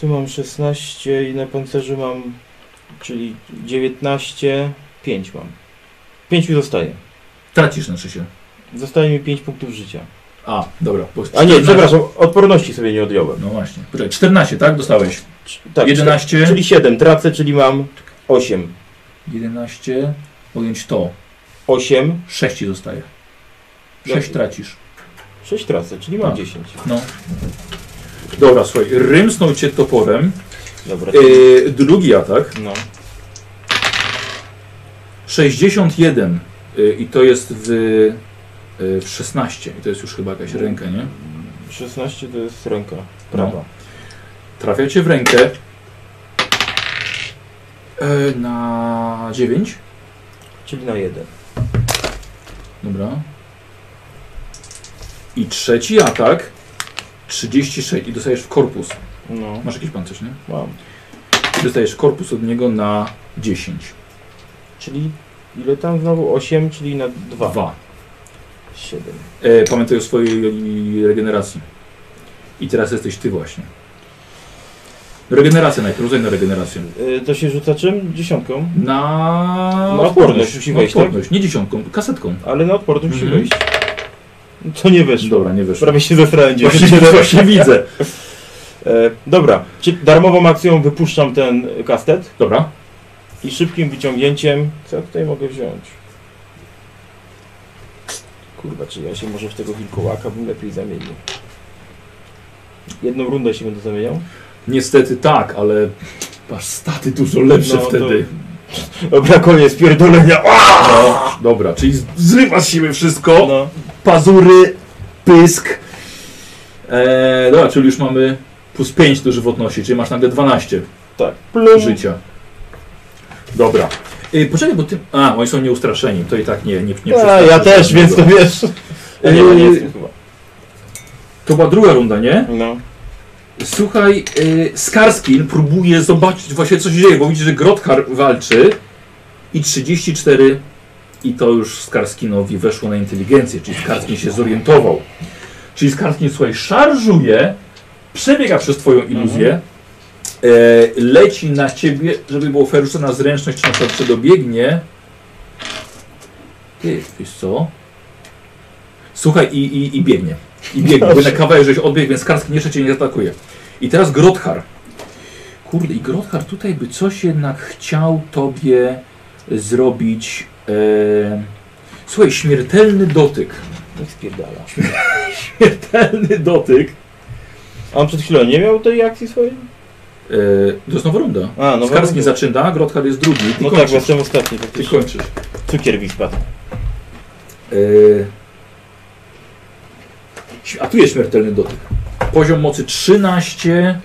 B: Tu mam 16 i na pancerzu mam, czyli 19, 5 mam. 5 mi zostaje.
A: Tracisz znaczy się.
B: Zostaje mi 5 punktów życia.
A: A, dobra. bo
B: A nie,
A: 14.
B: przepraszam, odporności sobie nie odjąłem.
A: No właśnie. Poczekaj, 14, tak? Dostałeś.
B: Cz- Tak,
A: 11.
B: czter- Czyli 7 tracę, czyli mam 8.
A: 11. Pojąć to.
B: 8,
A: 6 ci zostaje.
B: Dobrze.
A: 6 tracisz.
B: 6 tracę, czyli mam
A: Tak.
B: 10.
A: No. Dobra, słuchaj, rymsnął cię toporem.
B: Dobra.
A: Yy, drugi atak.
B: No.
A: 61. Yy, I to jest w, yy, w 16. I to jest już chyba jakaś ręka, nie?
B: 16 to jest ręka. Prawa.
A: Trafia cię w rękę. Yy, na 9.
B: Czyli na 1.
A: Dobra. I trzeci atak. 36. I dostajesz w korpus.
B: No,
A: Masz jakiś pancerz, nie?
B: mam.
A: I dostajesz korpus od niego na 10.
B: Czyli ile tam znowu? 8, czyli na 2.
A: 2.
B: 7.
A: E, pamiętaj o swojej regeneracji. I teraz jesteś ty właśnie. Regeneracja najpierw, rodzaj na regenerację.
B: Y, To się rzuca czym? Dziesiątką.
A: Na
B: No, odporność musi
A: na
B: wejść, tak?
A: odporność. Nie dziesiątką, kasetką.
B: Ale na odporność musi
A: Mhm.
B: wejść. No To nie wyszło.
A: Dobra, nie wyszło.
B: Prawie się zesrałem
A: Właśnie,
B: dziesięć.
A: właśnie widzę.
B: E, Dobra, czy darmową akcją wypuszczam ten kastet
A: Dobra,
B: i szybkim wyciągnięciem... Co ja tutaj mogę wziąć? Kurwa, czy ja się może w tego wilkołaka bym lepiej zamienił? Jedną rundę się będę zamieniał.
A: niestety tak, ale masz staty dużo lepsze
B: No, to-
A: wtedy.
B: Dobra, koniec pierdolenia.
A: No, dobra, czyli z- zrywasz z siebie wszystko.
B: No.
A: Pazury, pysk. E, dobra, czyli już mamy plus 5 do żywotności, czyli masz nagle 12.
B: Tak. Plum.
A: życia. Dobra. Y, poczekaj, bo ty. A, oni są nieustraszeni, to i tak nie nie, nie
B: A,
A: przeskoczy
B: ja też,
A: żadnego.
B: więc to wiesz.
A: Ja nie- nie
B: Yy,
A: jestem To była druga runda, nie?
B: No.
A: Słuchaj, y, Skarskin próbuje zobaczyć właśnie co się dzieje, bo widzi, że Grothar walczy i 34 i to już Skarskinowi weszło na inteligencję, czyli Skarskin się zorientował. Czyli Skarskin, słuchaj, szarżuje, przebiega przez twoją iluzję,
B: Mhm.
A: e, leci na ciebie, żeby było fair, rzucę na zręczność, czy na przykład przedobiegnie. Ty, wiesz co? Słuchaj, i, i, i biegnie. I biegnie, bo na kawałek żeś odbiegł, więc Karskin jeszcze cię nie atakuje. I teraz Grothar. Kurde, i Grothar tutaj by coś jednak chciał tobie zrobić. E... Słuchaj, śmiertelny dotyk.
B: Tak spierdala.
A: Śmiertelny dotyk.
B: A on przed chwilą nie miał tej akcji swojej?
A: E... To jest nowa runda.
B: A,
A: No,
B: no
A: Skarskin
B: bo-
A: zaczyna, Grothar jest drugi. Ty
B: No tak,
A: kończysz.
B: bo jestem ostatni.
A: Ty
B: faktycznie.
A: kończysz.
B: Cukier mi spadł.
A: Yy. A tu jest śmiertelny dotyk. Poziom mocy 13.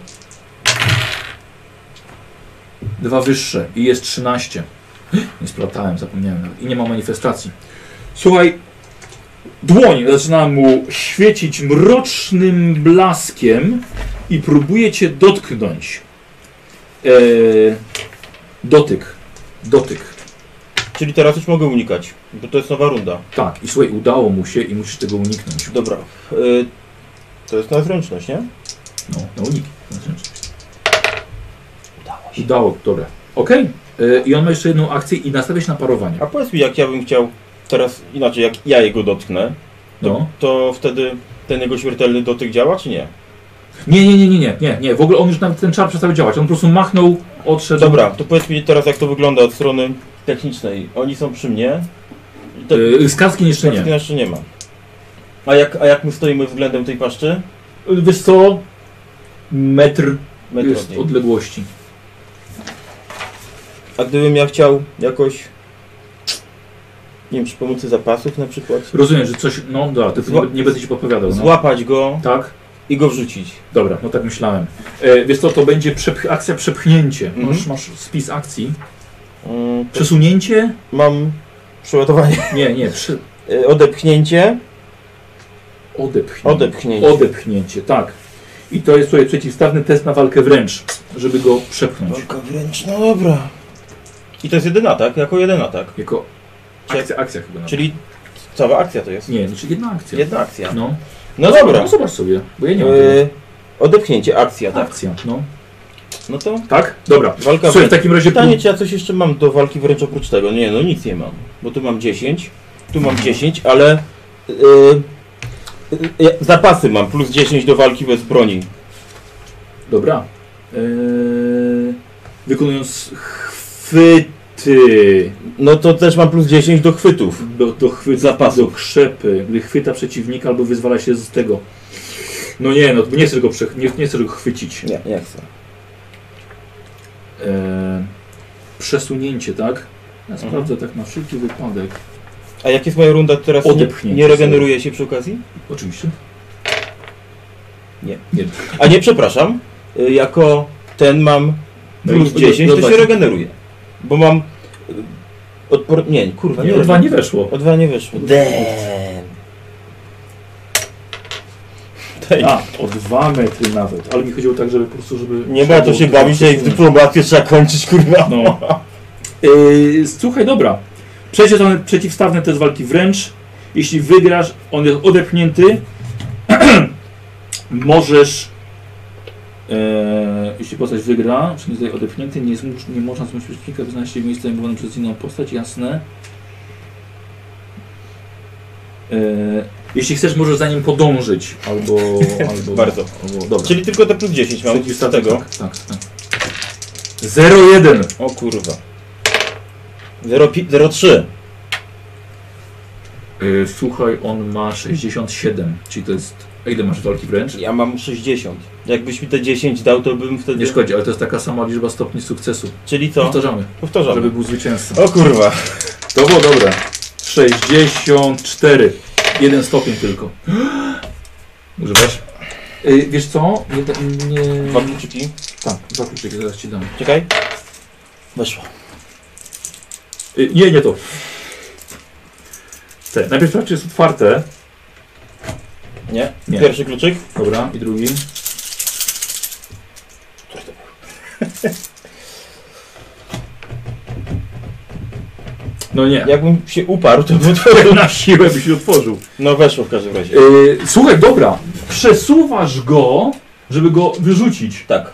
A: Dwa wyższe i jest 13. Nie splatałem, zapomniałem nawet. I nie ma manifestacji. Słuchaj, dłoń zaczyna mu świecić mrocznym blaskiem i próbuje cię dotknąć. Eee, dotyk. Dotyk.
B: Czyli teraz już mogę unikać, bo to jest nowa runda.
A: Tak, i słuchaj, udało mu się i musisz tego uniknąć.
B: Dobra. Y, to jest na zręczność, nie?
A: No, na uniki. na zręczność. Udało, dobra. Okej. Y, I on ma jeszcze jedną akcję i nastawia się na parowanie.
B: A powiedz mi, jak ja bym chciał teraz, inaczej, jak ja jego dotknę,
A: No.
B: to wtedy ten jego śmiertelny dotyk działa, czy nie?
A: Nie, nie, nie, nie, nie, nie, nie. W ogóle on już nawet ten czar przestał działać. On po prostu machnął, odszedł.
B: Dobra, to powiedz mi teraz, jak to wygląda od strony technicznej. Oni są przy mnie. I to-
A: Y, Z kaskiem jeszcze nie.
B: Paczki jeszcze Znaczy, nie ma. A jak, a jak my stoimy względem tej paszczy?
A: Y, Wiesz co? Metr
B: Metr od
A: jest
B: niej.
A: odległości.
B: A gdybym ja chciał jakoś... Nie wiem, przy pomocy zapasów na przykład?
A: Rozumiem, że coś. No dobra, to
B: Zła-
A: nie, nie będę ci podpowiadał. No.
B: Złapać go
A: Tak?
B: i go wrzucić.
A: Dobra, no tak myślałem. E, wiesz co, to będzie przepch- akcja przepchnięcie.
B: Mhm.
A: Masz, masz spis akcji.
B: Mm, to
A: Przesunięcie?
B: Mam przeładowanie.
A: Nie, nie, przy...
B: E, Odepchnięcie.
A: odepchnięcie.
B: Odepchnięcie.
A: Odepchnięcie, tak. I to jest sobie przeciwstawny test na walkę wręcz, żeby go przepchnąć.
B: Walka wręcz, no dobra. I to jest jeden atak, jako jeden atak.
A: Jako
B: Czy-
A: akcja, akcja chyba. Nawet.
B: Czyli cała akcja to jest.
A: Nie, znaczy jedna akcja.
B: Jedna akcja.
A: No,
B: No dobra.
A: No, zobacz sobie, bo ja nie mam.
B: E, Odepchnięcie, akcja,
A: tego.
B: tak.
A: Akcja, no.
B: No to
A: Tak? Dobra.
B: walka
A: Słuchaj, w
B: wręcz.
A: takim razie...
B: Pytanie, czy ja coś jeszcze mam do walki wręcz oprócz tego? Nie, no nic nie mam. Bo tu mam 10, tu mam 10, ale e, e, e, zapasy mam, plus 10 do walki bez broni.
A: Dobra. Eee, wykonując chwyty
B: No to też mam plus 10 do chwytów.
A: do, do chwyt
B: Zapasów.
A: do krzepy, gdy chwyta przeciwnika albo wyzwala się z tego. No nie, no nie chcę go, przech- nie, nie chcę go chwycić.
B: Nie, nie chcę.
A: E, przesunięcie, tak? Ja sprawdzę tak na wszelki wypadek.
B: A jak jest moja runda, to teraz nie,
A: Odepchnięcie
B: nie regeneruje się przy okazji?
A: Oczywiście.
B: Nie.
A: Nie.
B: A nie, przepraszam. y, Jako ten mam
A: No
B: plus
A: i-
B: 10,
A: no
B: to się
A: właśnie.
B: regeneruje. Bo mam... y, Odpor... Nie, kurwa,
A: Nie, o dwa nie weszło.
B: O dwa nie wyszło. Damn. Daj.
A: A, o dwa metry nawet. Ale mi chodziło tak, żeby po prostu, żeby...
B: Nie ma to się bawić, że ich dyplomację trzeba kończyć, kurwa.
A: No. Yy, słuchaj, dobra. Przejdzie to przeciwstawny test walki wręcz. Jeśli wygrasz, on jest odepchnięty. Możesz. E, jeśli postać wygra, czy nie zostaje odepchnięty, nie, zmusz, nie można zmusić przeciwnika wyznać się w miejscu zajmowanym przez inną postać, jasne. E, jeśli chcesz, możesz za nim podążyć. Albo. albo
B: Bardzo.
A: Albo, dobra.
B: Czyli tylko te plus 10 mam z
A: Przeciwstawny,
B: tego.
A: Tak, tak, tak. 0-1.
B: O kurwa. 0,3.
A: Y, Słuchaj, on ma 67, czyli to jest. A ile masz walki wręcz?
B: Ja mam 60. Jakbyś mi te 10 dał, to bym wtedy...
A: Nie szkodzi, ale to jest taka sama liczba stopni sukcesu.
B: Czyli co?
A: Powtarzamy,
B: Powtarzam.
A: żeby był zwycięzcą.
B: O kurwa.
A: To było dobre. 64. Jeden stopień tylko. Używasz? Y, wiesz co? Nie, nie...
B: Dwa kluczyki.
A: Tak, dwa kluczyki zaraz ci dam.
B: Czekaj. Weszło.
A: Y, nie, nie to. Te. Najpierw sprawdź, czy jest otwarte.
B: Nie?
A: Nie.
B: Pierwszy kluczyk?
A: Dobra, i drugi. No nie.
B: Jakbym się uparł, to by to...
A: Na siłę byś otworzył.
B: No weszło w każdym razie.
A: Yy, słuchaj, dobra. Przesuwasz go, żeby go wyrzucić.
B: Tak.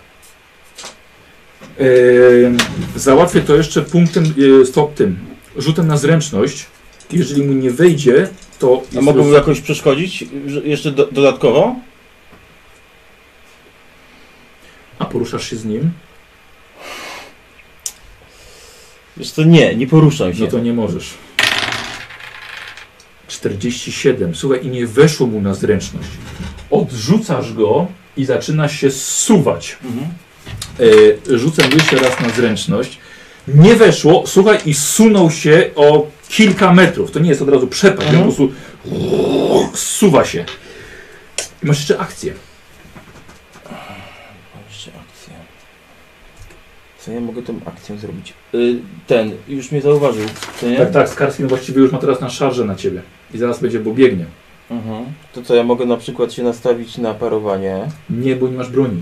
A: Yy, załatwię to jeszcze punktem, yy, stop tym, rzutem na zręczność. Jeżeli mu nie wejdzie, to...
B: A
A: jest
B: mogą
A: roz-
B: mu jakoś przeszkodzić? Że- Jeszcze do, dodatkowo?
A: A poruszasz się z nim?
B: Wiesz co, nie, nie poruszam się.
A: No to nie możesz. 47. Słuchaj, i nie weszło mu na zręczność. Odrzucasz go i zaczyna się zsuwać.
B: Mhm.
A: E, rzucę jeszcze raz na zręczność. Nie weszło, słuchaj, i sunął się o kilka metrów. To nie jest od razu przepaść,
B: Mhm.
A: on po prostu suwa się. I masz jeszcze akcję.
B: Mam Jeszcze akcję. Co ja mogę tą akcją zrobić? Y, ten, już mnie zauważył, co nie?
A: Tak, tak, Skarskin właściwie już ma teraz na szarze na ciebie. I zaraz będzie, bo biegnie.
B: Mhm. To co, ja mogę na przykład się nastawić na parowanie,
A: Nie, bo nie masz broni.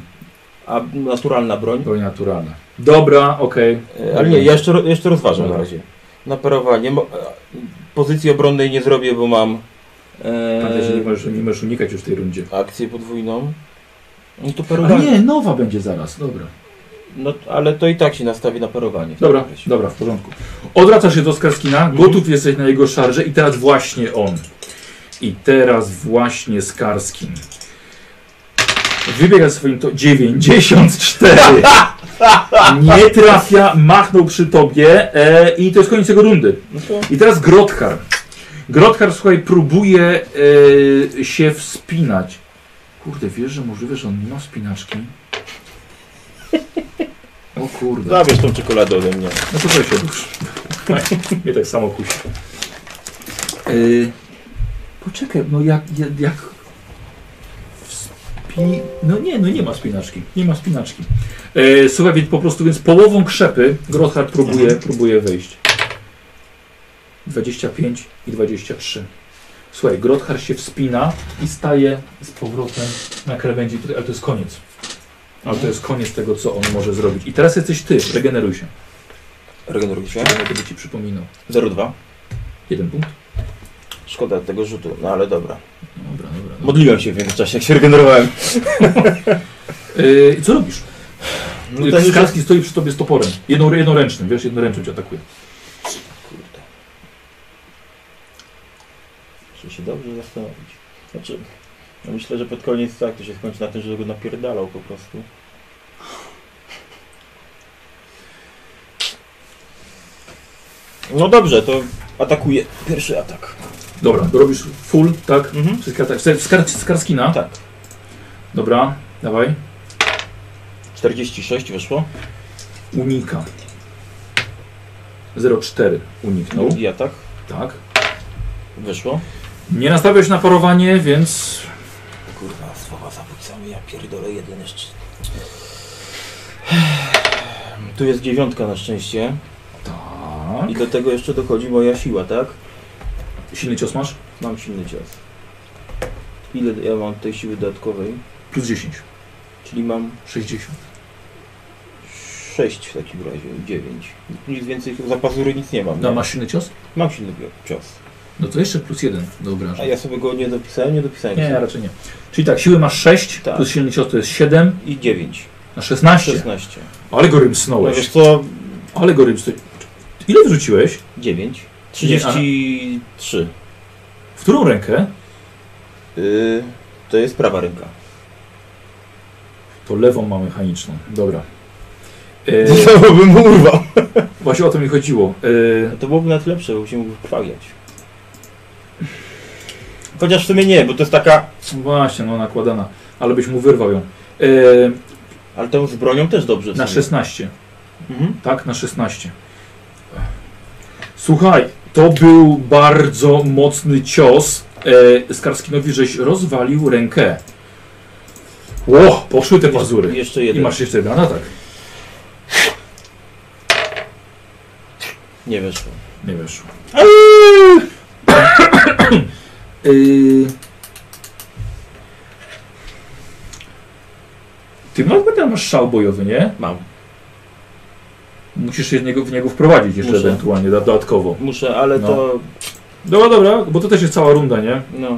B: a naturalna broń?
A: Broń naturalna. Dobra, okej.
B: E, Y, Ale nie, ja jeszcze, ro- jeszcze rozważam na razie. Na parowanie. Mo- e, Pozycji obronnej nie zrobię, bo mam
A: Pamiętaj, że nie
B: e,
A: możesz, nie możesz unikać już tej rundzie.
B: akcję podwójną. No to
A: A
B: parowanie.
A: nie, nowa będzie zaraz, dobra.
B: No, ale to i tak się nastawię na parowanie. w
A: Dobra,
B: takim razie.
A: dobra, w porządku. Odwracasz się do Skarskina,
B: Mhm.
A: gotów jesteś na jego szarże i teraz właśnie on. I teraz właśnie Skarskin. Wybiega swoim to 94. Nie trafia, machnął przy tobie e, i to jest koniec jego rundy.
B: No to...
A: I teraz Grothar. Grothar, słuchaj, próbuje e, się wspinać. Kurde, wiesz, że możliwe, że on nie ma spinaczki? O kurde.
B: Zabierz tą czekoladę ode mnie.
A: No to proszę. Nie tak samo kusi. E, poczekaj, no jak, jak, jak... Wspi... No nie, no nie ma spinaczki. Nie ma spinaczki. Yy, słuchaj, więc po prostu więc połową krzepy Grothard próbuje, próbuje wejść. 25 i 23. Słuchaj, Grothar się wspina i staje z powrotem na krawędzi tutaj, ale to jest koniec. Ale to jest koniec tego, co on może zrobić. I teraz jesteś ty, regeneruj się.
B: Regeneruj się.
A: Będę by ci przypominał.
B: 0,2.
A: Jeden punkt.
B: Szkoda tego rzutu, no ale dobra.
A: Dobra, dobra. dobra.
B: Modliłem się w międzyczasie, jak się regenerowałem.
A: Yy, co robisz?
B: No
A: No Skarski stoi przy tobie z toporem. Jedną, jednoręcznym, wiesz, jednoręcznym cię atakuje.
B: Kurde. Muszę się dobrze zastanowić. Znaczy, no myślę, że pod koniec tak, to się skończy na tym, że go napierdalał po prostu. No dobrze, to atakuje. Pierwszy atak.
A: Dobra, to robisz full, tak?
B: Mhm.
A: Wszystkie ataki. Chce- Skar, skarskina?
B: Tak.
A: Dobra, dawaj.
B: 46 wyszło.
A: Unika. 0,4 uniknął.
B: Drugi atak.
A: Tak.
B: Wyszło.
A: Nie nastawiasz na parowanie, więc...
B: Kurwa, słowa zabójcami, ja pierdolę jeden jeszcze. Tu jest dziewiątka na szczęście.
A: Tak.
B: I do tego jeszcze dochodzi moja siła, tak?
A: Silny cios masz?
B: Mam silny cios. Ile ja mam tej siły dodatkowej?
A: Plus 10.
B: Czyli mam
A: 60.
B: 6 w takim razie, 9. Nic więcej, za pazury nic nie mam.
A: No,
B: nie?
A: masz silny cios?
B: Mam silny bio- cios.
A: No to jeszcze plus 1 do obrażeń.
B: A ja sobie go nie dopisałem, nie dopisałem.
A: Nie,
B: sobie.
A: raczej nie. Czyli tak, siły masz 6,
B: Tak.
A: plus silny cios to jest 7,
B: I 9.
A: na 16.
B: 16.
A: Ale go
B: No
A: rymsnąłeś.
B: wiesz co?
A: Ale go rymsnąłeś. Ile wyrzuciłeś?
B: 9. 33.
A: W którą rękę?
B: Yy, to jest prawa ręka.
A: To lewą ma mechaniczną. Dobra. E,
B: Znowu bym urwał.
A: właśnie o to mi chodziło. E,
B: To byłoby nawet lepsze, bo się mógł chwaliać. Chociaż w sumie nie, bo to jest taka...
A: właśnie, no nakładana. Ale byś mu wyrwał ją. E,
B: Ale tą z bronią też dobrze. w
A: na
B: sumie.
A: 16.
B: Mhm.
A: Tak, na 16. Słuchaj, to był bardzo mocny cios. E, Skarskinowi żeś rozwalił rękę. Ło, poszły te pazury.
B: Jeszcze
A: I
B: jeden.
A: masz jeszcze jeden atak.
B: Nie weszło.
A: Nie weszło. Eee. Yy, Ty masz, tam masz szał bojowy, nie?
B: Mam.
A: Musisz się w niego, w niego wprowadzić jeszcze
B: Muszę.
A: ewentualnie, da- dodatkowo.
B: Muszę, ale
A: No.
B: to...
A: Dobra, dobra, bo to też jest cała runda, nie?
B: No.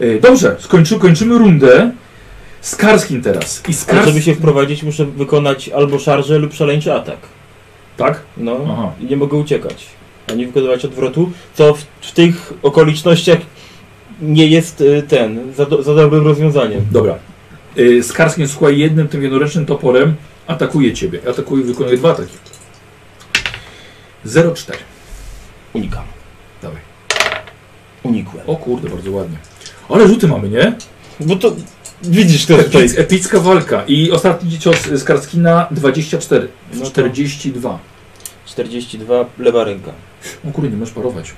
A: E, Dobrze, skończy, kończymy rundę. Z Karskim teraz. I
B: Ale
A: Skarskim...
B: żeby się wprowadzić, muszę wykonać albo szarżę lub szaleńczy atak.
A: Tak?
B: No.
A: Aha.
B: I nie mogę uciekać. Ani wykonywać odwrotu, co w, w tych okolicznościach nie jest y, ten, za, do, za dobrym rozwiązaniem.
A: Dobra. Y, Skarskin, słuchaj, jednym tym jednoręcznym toporem atakuje ciebie. Atakuje, wykonuje dwa ataki. 0,4.
B: Unikam.
A: Dawaj.
B: Unikłem.
A: O kurde, bardzo ładnie. Ale rzuty mamy, nie?
B: Bo No to widzisz to tutaj.
A: Epic, epicka walka. I ostatni cios Skarskina 24.
B: No to-
A: 42.
B: 42, lewa ręka.
A: O kurde, nie możesz parować.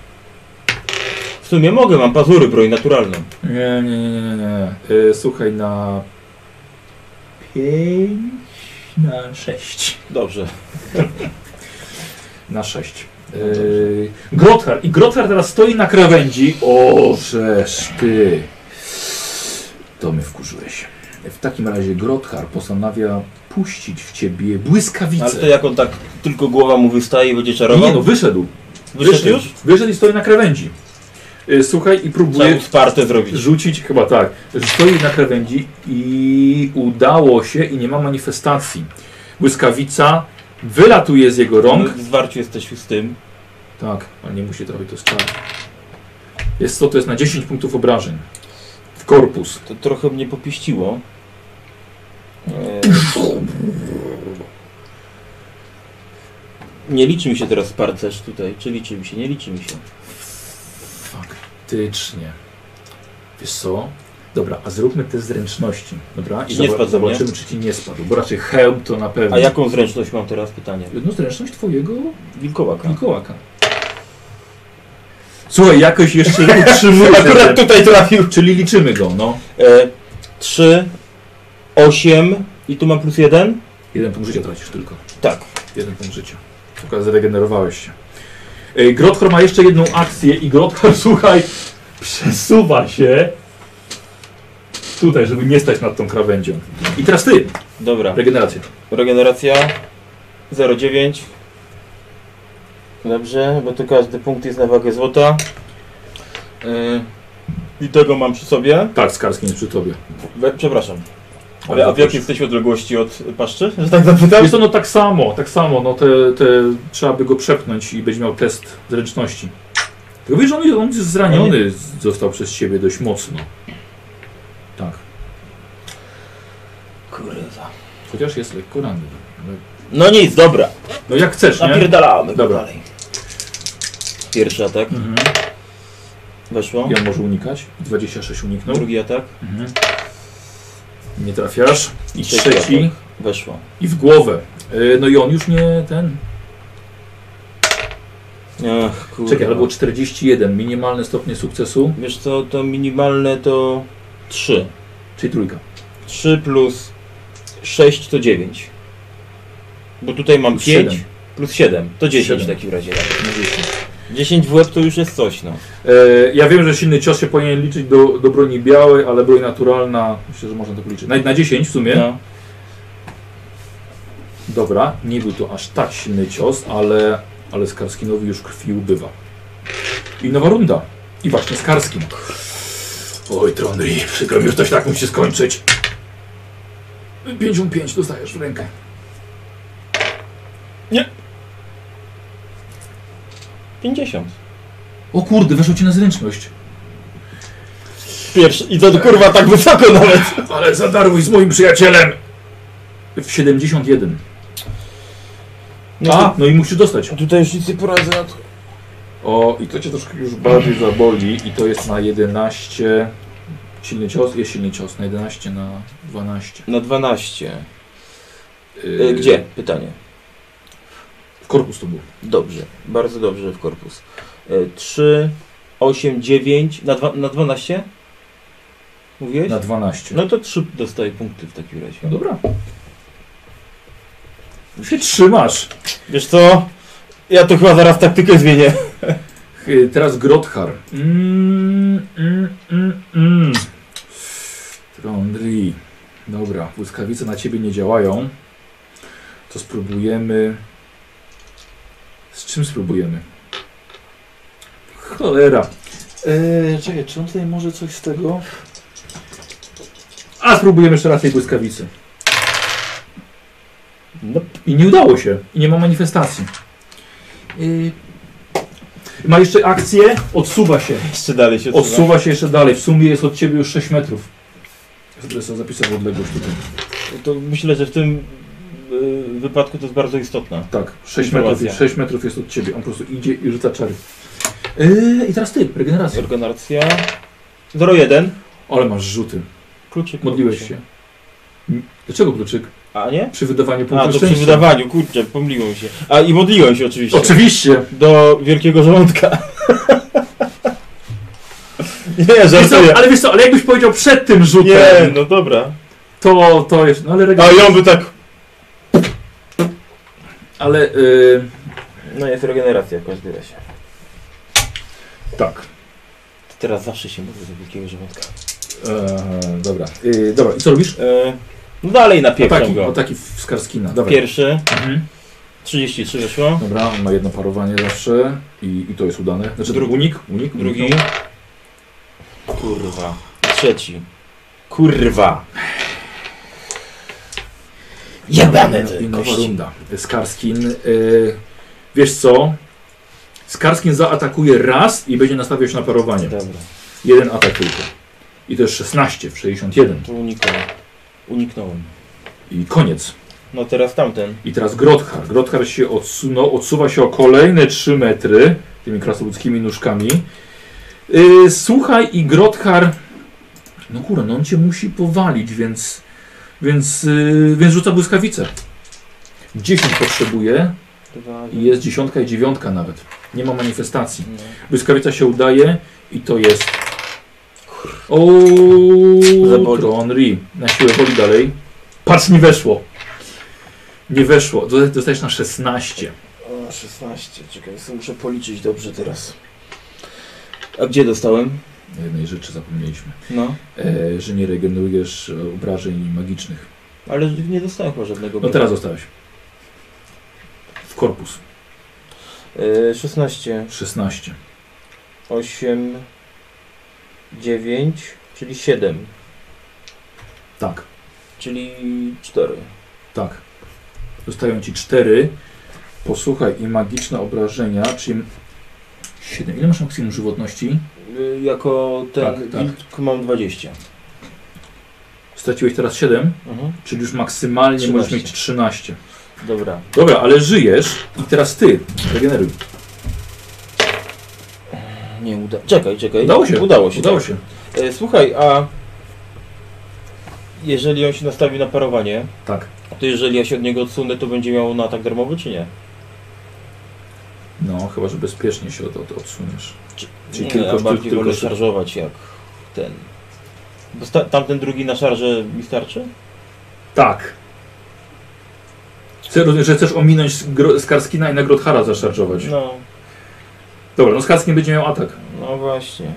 B: W sumie mogę, mam pazury, broń naturalną.
A: Nie, nie, nie, nie, nie. Y, Słuchaj, na 5, na 6.
B: Dobrze.
A: Na 6. Yy, Grothar. I Grothar teraz stoi na krawędzi. O, żeż ty. To mnie wkurzyłeś. W takim razie Grothar postanawia puścić w ciebie błyskawicę.
B: Ale to jak on tak, tylko głowa mu wystaje i będzie czarował?
A: Nie no, wyszedł.
B: Wyszedł już?
A: Wyszedł i stoi na krawędzi. Yy, słuchaj, i
B: Trzeba
A: próbuje
B: mu sparte zrobić.
A: rzucić, chyba tak, stoi na krawędzi i udało się i nie ma manifestacji. Błyskawica wylatuje z jego rąk.
B: W zwarciu jesteś z tym.
A: Tak, ale nie musi trafić, to jest kara. Jest to, to jest na 10 punktów obrażeń. W korpus.
B: To trochę mnie popiściło. Eee, Nie liczy mi się teraz sparcerz tutaj. Czy liczy mi się? Nie liczy mi się.
A: Faktycznie. Wiesz co? Dobra, a zróbmy te zręczności. Dobra, i
B: Czy nie
A: zobac-
B: spadł,
A: zobaczymy, czy ci nie spadł. Bo raczej hełm to na pewno.
B: A jaką zręczność mam teraz? Pytanie.
A: No zręczność twojego
B: Wilkołaka.
A: Mikołaka. Słuchaj, jakoś jeszcze utrzymuje.
B: Akurat tutaj trafił.
A: Czyli liczymy go, no.
B: 3, 8 E, i tu mam plus 1?
A: Jeden punkt życia tracisz tylko.
B: Tak.
A: Jeden punkt życia. Tylko zregenerowałeś się. Ej, Grothor ma jeszcze jedną akcję i Grothor, słuchaj, przesuwa się tutaj, żeby nie stać nad tą krawędzią. I teraz ty,
B: Dobra.
A: regeneracja.
B: Regeneracja 0,9. Dobrze, bo tu każdy punkt jest na wagę złota. Yy, I tego mam przy sobie.
A: Tak, Skarski nie przy tobie.
B: We, przepraszam.
A: Ale
B: Ale a w jakiej
A: proszę.
B: jesteśmy odległości od paszczy? Że tak zapytam?
A: Jest ono tak samo, tak samo, no te, te, trzeba by go przepchnąć i będzie miał test zręczności. Tylko wiesz, on, on jest
B: No
A: zraniony, z- został przez ciebie dość mocno. Tak,
B: Kurwa.
A: chociaż jest lekko ranny. ale-
B: No nic, dobra.
A: No jak chcesz, nie?
B: Napierdalamy.
A: Dobra.
B: Dalej. Pierwszy atak.
A: Mhm.
B: Weszło.
A: Ja może unikać, 26 uniknął.
B: Drugi atak.
A: Mhm. Nie trafiasz. I
B: Trzeci
A: trzeci.
B: atak. Weszło.
A: I w głowę. Y, No i on już nie ten.
B: Ach, kurwa.
A: Czekaj, ale było 41. Minimalne stopnie sukcesu,
B: Wiesz co, to minimalne to 3.
A: czyli trójka.
B: 3 plus 6 to 9. Bo tutaj mam
A: Plus
B: 5
A: siedem.
B: plus 7 to 10 w
A: Siedem.
B: takim razie. 10 w łeb to już jest coś, no.
A: E, ja wiem, że silny cios się powinien liczyć do, do broni białej, ale broń naturalna, myślę, że można to policzyć. Na, na 10 w sumie.
B: no.
A: Dobra, nie był to aż tak silny cios, ale, ale Skarskinowi już krwi ubywa. I nowa runda. I właśnie Skarskim. Oj, Tronry, przykro mi, że coś tak musi skończyć. 55 dostajesz w rękę.
B: Nie. 50.
A: O kurde, weszło ci na zręczność.
B: Pierwszy. I to kurwa tak wysoko nawet.
A: Ale zadarłeś z moim przyjacielem. W 71.
B: No
A: A, no i musisz dostać.
B: to- Tutaj już nic nie poradzę na to.
A: O, i to cię troszkę już bardziej zaboli i to jest na 11. Silny cios, jest silny cios, na 11, na 12.
B: Na 12.
A: Yy,
B: E, Gdzie? Pytanie.
A: W korpus to był.
B: Dobrze, bardzo dobrze w korpus. E, 3, 8, 9, na, dwa, na 12? Mówiłeś?
A: Na 12.
B: No to 3 dostaję punkty w takim razie.
A: No dobra. Się trzymasz.
B: Wiesz co? Ja to chyba zaraz taktykę zmienię.
A: Yy, Teraz Grothar. Mm, mm, mm, mm. Trondri. Dobra, błyskawice na ciebie nie działają. To spróbujemy. Z czym spróbujemy? Cholera. Eee, czekaj, czy on tutaj może coś z tego? A spróbujemy jeszcze raz tej błyskawicy.
B: No,
A: I nie udało się. I nie ma manifestacji. Yy... Ma jeszcze akcję, odsuwa się.
B: jeszcze dalej się odsuwa.
A: Odsuwa się jeszcze dalej. W sumie jest od ciebie już 6 metrów. Będę sobie zapisał odległość tutaj.
B: To myślę, że w tym y, wypadku to jest bardzo istotna.
A: Tak, 6
B: Informacja.
A: metrów, jest, 6 metrów jest od ciebie. On po prostu idzie i rzuca czary. Yy, I teraz ty, regeneracja.
B: Organacja 01.
A: Ale masz rzuty.
B: Kluczyk.
A: Modliłeś się. M- Dlaczego kluczyk?
B: A nie?
A: Przy wydawaniu
B: A,
A: punktu
B: to przy
A: szczęścia.
B: wydawaniu, kurczę, pomyliłem się. A i modliłem się oczywiście.
A: Oczywiście.
B: Do wielkiego żołądka. nie,
A: Wiesz co,
B: żartuję.
A: ale wiesz co, ale jakbyś powiedział przed tym rzutem,
B: Nie, no dobra.
A: to, to jest... No ale
B: A
A: regeneracja...
B: i on by tak...
A: Ale... Yy,
B: No jest regeneracja w każdym razie.
A: tak.
B: To teraz zawsze się modlę do wielkiego żołądka.
A: Eee, dobra. Yy, dobra, i co robisz?
B: E, no dalej napieprzam
A: Ataki,
B: go.
A: ataki w Skarskina. Dobra.
B: Pierwszy,
A: Mhm.
B: 33 wyszło.
A: Dobra, on ma jedno parowanie zawsze i, i to jest udane. Znaczy
B: Drugi.
A: unik, unik,
B: Drugi.
A: uniknął.
B: Kurwa. Trzeci. Kurwa. Jebane
A: I
B: te
A: nowa
B: kości.
A: runda. Skarskin, y, wiesz co? Skarskin zaatakuje raz i będzie nastawiał się na parowanie.
B: Dobra,
A: Jeden atak tylko. I to jest 16 w 61.
B: tu uniknąłem. Uniknąłem.
A: I koniec.
B: No teraz tamten.
A: I teraz Grothar. Grothar się odsunął, odsuwa się o kolejne 3 metry tymi krasoludzkimi nóżkami. Y, słuchaj i Grothar... No kurwa, no on cię musi powalić, więc... Więc, y, więc rzuca błyskawicę. 10 potrzebuje.
B: Dwa,
A: I jest dziesiątka i dziewiątka nawet. Nie ma manifestacji.
B: No.
A: Błyskawica się udaje i to jest.
B: Zaboli.
A: Ooo, Tronri. Na siłę woli dalej. Patrz, nie weszło. Nie weszło. Dosta- Dostajesz na 16.
B: O, 16, czekaj, sobie muszę policzyć dobrze teraz. A gdzie dostałem?
A: Na jednej rzeczy zapomnieliśmy.
B: No,
A: E, że nie regenerujesz e, obrażeń magicznych.
B: ale nie dostałem chyba żadnego.
A: No teraz dostałeś. W korpus.
B: E, 16,
A: 16.
B: 8, 9, czyli 7,
A: Tak,
B: czyli 4.
A: tak. Dostają ci 4. Posłuchaj, i magiczne obrażenia, czyli 7. Ile masz maksimum żywotności?
B: Y, Jako ten
A: Tak, tak.
B: wilk mam 20.
A: Straciłeś teraz 7,
B: Mhm.
A: czyli już maksymalnie
B: 13.
A: możesz mieć 13.
B: Dobra.
A: Dobra, ale żyjesz i teraz ty regeneruj.
B: Nie uda. Czekaj, czekaj.
A: Udało się.
B: Udało się.
A: Udało
B: tak.
A: się.
B: E, słuchaj, a jeżeli on się nastawi na parowanie,
A: Tak.
B: to jeżeli ja się od niego odsunę, to będzie miał na atak darmowy, czy nie?
A: No, chyba, że bezpiecznie się od, od, odsuniesz.
B: Czy-
A: Czyli
B: nie,
A: tylko
B: ja
A: sztuk,
B: bardziej
A: tylko
B: wolę
A: sztuk.
B: szarżować jak ten. Bo sta- tamten drugi na szarże mi starczy?
A: Tak. Chcę, rozumiem, że chcesz ominąć Gro- Skarskina i na Grothara zaszarżować.
B: No,
A: Dobra, no Skarskin będzie miał atak.
B: no właśnie.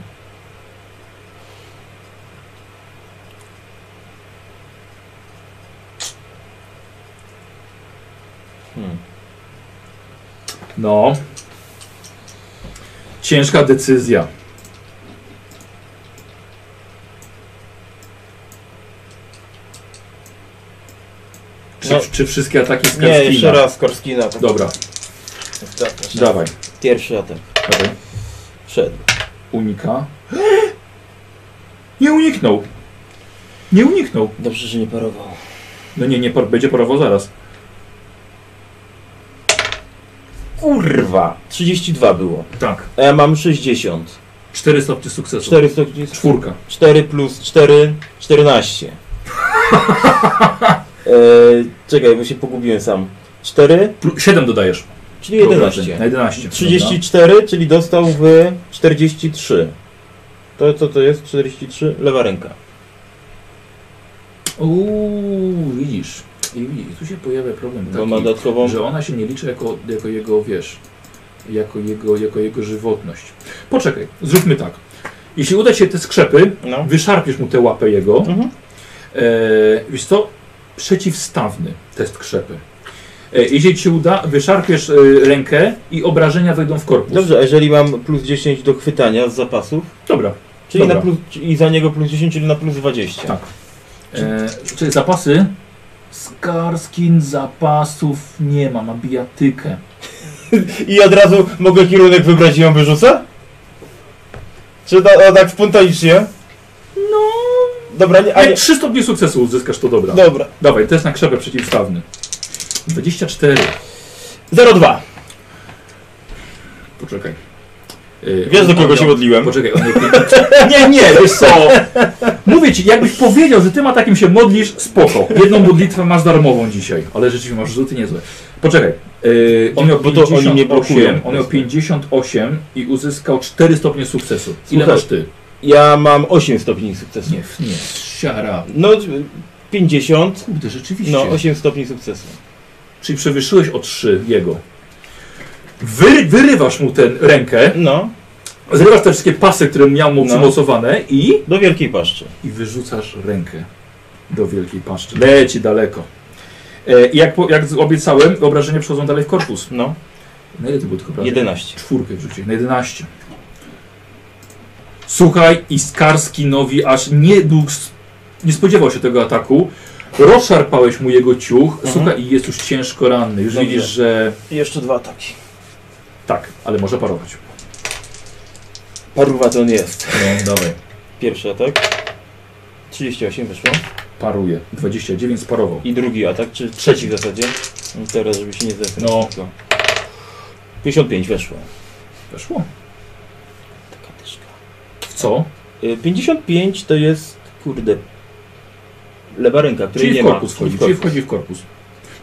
B: Hmm.
A: No. Ciężka decyzja. Czy,
B: No.
A: czy wszystkie ataki z
B: Nie, jeszcze
A: Karskina?
B: raz Korskina. Tak,
A: Dobra,
B: Ostatnia szansa.
A: dawaj.
B: Pierwszy atak.
A: dawaj.
B: Wszedł.
A: Unika. Nie uniknął. Nie uniknął.
B: Dobrze, że nie parował.
A: No nie, nie par będzie parował zaraz.
B: Kurwa! 32 było.
A: Tak.
B: A ja mam 60.
A: Cztery stopnie sukcesu.
B: 4,
A: Czwórka.
B: 4 plus 4, 14. e, czekaj, bo się pogubiłem sam. 4,
A: Plu- Siedem dodajesz.
B: czyli
A: Obrażeń. Na
B: 11.
A: 11.
B: 34, czyli dostał w 43. To co to jest? 43? Lewa ręka.
A: Dobra. Uuu, widzisz. I widzisz, tu się pojawia problem
B: Bo
A: taki,
B: ma dodatkową...
A: że ona się nie liczy jako, jako jego, wiesz, jako jego, jako jego żywotność. Poczekaj, zróbmy tak. Jeśli uda ci się te skrzepy,
B: No.
A: wyszarpiesz mu tę łapę jego
B: Mhm.
A: E, wiesz co? Przeciwstawny test krzepy. E, jeśli ci się uda, wyszarpiesz e, rękę i obrażenia wejdą w korpus.
B: Dobrze, a jeżeli mam plus 10 do chwytania z zapasów,
A: Dobra.
B: czyli
A: Dobra.
B: na plus, i za niego plus 10, czyli na plus 20.
A: Tak. E, czyli zapasy? Skarskin zapasów nie ma, ma bijatykę.
B: I od razu mogę kierunek wybrać i ją wyrzucę? Czy to, o, tak spontanicznie?
A: No,
B: Dobra, nie, a
A: jak
B: nie.
A: 3 stopnie sukcesu uzyskasz, to dobra.
B: Dobra.
A: Dawaj, test na krzepę przeciwstawny. 24.
B: 02.
A: Poczekaj. E,
B: Wiesz do
A: on
B: kogo
A: miał-
B: się modliłem?
A: Poczekaj, on miał- Nie, nie, wiesz co? Mówię ci, jakbyś powiedział, że ty ma takim się modlisz, spoko. Jedną modlitwę masz darmową dzisiaj, ale rzeczywiście masz rzuty niezłe. Poczekaj. Yy, on miał
B: Bo to oni mnie
A: 58,
B: blokują.
A: on miał 58 i uzyskał 4 stopnie sukcesu. Ile
B: Słuchaj.
A: masz ty?
B: Ja mam 8 stopni sukcesu.
A: Nie, nie, siara.
B: No, 50.
A: Kurde, rzeczywiście.
B: No, 8 stopni sukcesu.
A: Czyli przewyższyłeś o 3 jego. Wy, wyrywasz mu tę rękę,
B: No,
A: zrywasz te wszystkie pasy, które miał mu
B: No.
A: przymocowane i...
B: do wielkiej paszczy.
A: i wyrzucasz rękę do wielkiej paszczy. Leci daleko. E, i jak, po, jak z- obiecałem, obrażenia przechodzą dalej w korpus.
B: No,
A: Na ile to było tylko obrażeń?
B: 11.
A: Czwórkę wrzuciłeś, na 11. Słuchaj, i Skarskinowi aż nie był, s- nie spodziewał się tego ataku. Rozszarpałeś mu jego ciuch,
B: Mhm.
A: słuchaj, i jest już ciężko ranny. Już
B: Dobrze.
A: widzisz, że
B: Jeszcze dwa ataki.
A: tak, ale może parować.
B: Paruwa to on jest.
A: No, dawaj.
B: Pierwszy atak. 38 wyszło.
A: Paruje. 29 sparował.
B: I drugi atak, czy trzeci w zasadzie. No Teraz, żeby się nie zesrać.
A: No.
B: tylko. 55 weszło.
A: Weszło.
B: Taka dyszka.
A: W co?
B: Y, 55 to jest, kurde, lewa ręka, której
A: Czyli
B: nie
A: w korpus
B: ma.
A: wchodzi,
B: Czyli
A: czyli
B: w korpus.
A: wchodzi w korpus.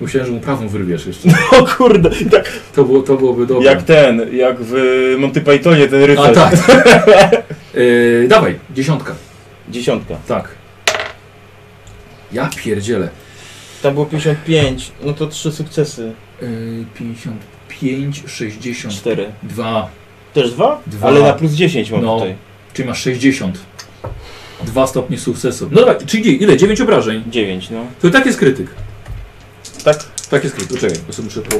A: Myślałem, że mu prawą wyrwiesz jeszcze.
B: O kurde, tak
A: To, było, to byłoby dobre.
B: jak ten, jak w y, Monty Pythonie ten
A: A
B: rycerz.
A: tak. yy, dawaj, dziesiątka.
B: Dziesiątka.
A: Tak. Ja pierdzielę.
B: Tam było 55, no to trzy sukcesy.
A: Yy, 55, 62.
B: Cztery. Też dwa?
A: Dwa.
B: Ale na plus 10 mam
A: No.
B: tutaj.
A: Czyli masz 60. Dwa stopnie sukcesu. No dobra, czyli ile? 9 obrażeń.
B: 9, no.
A: To i tak jest krytyk.
B: Tak?
A: Tak jest krytyk. Czekaj, bo sobie muszę po, po...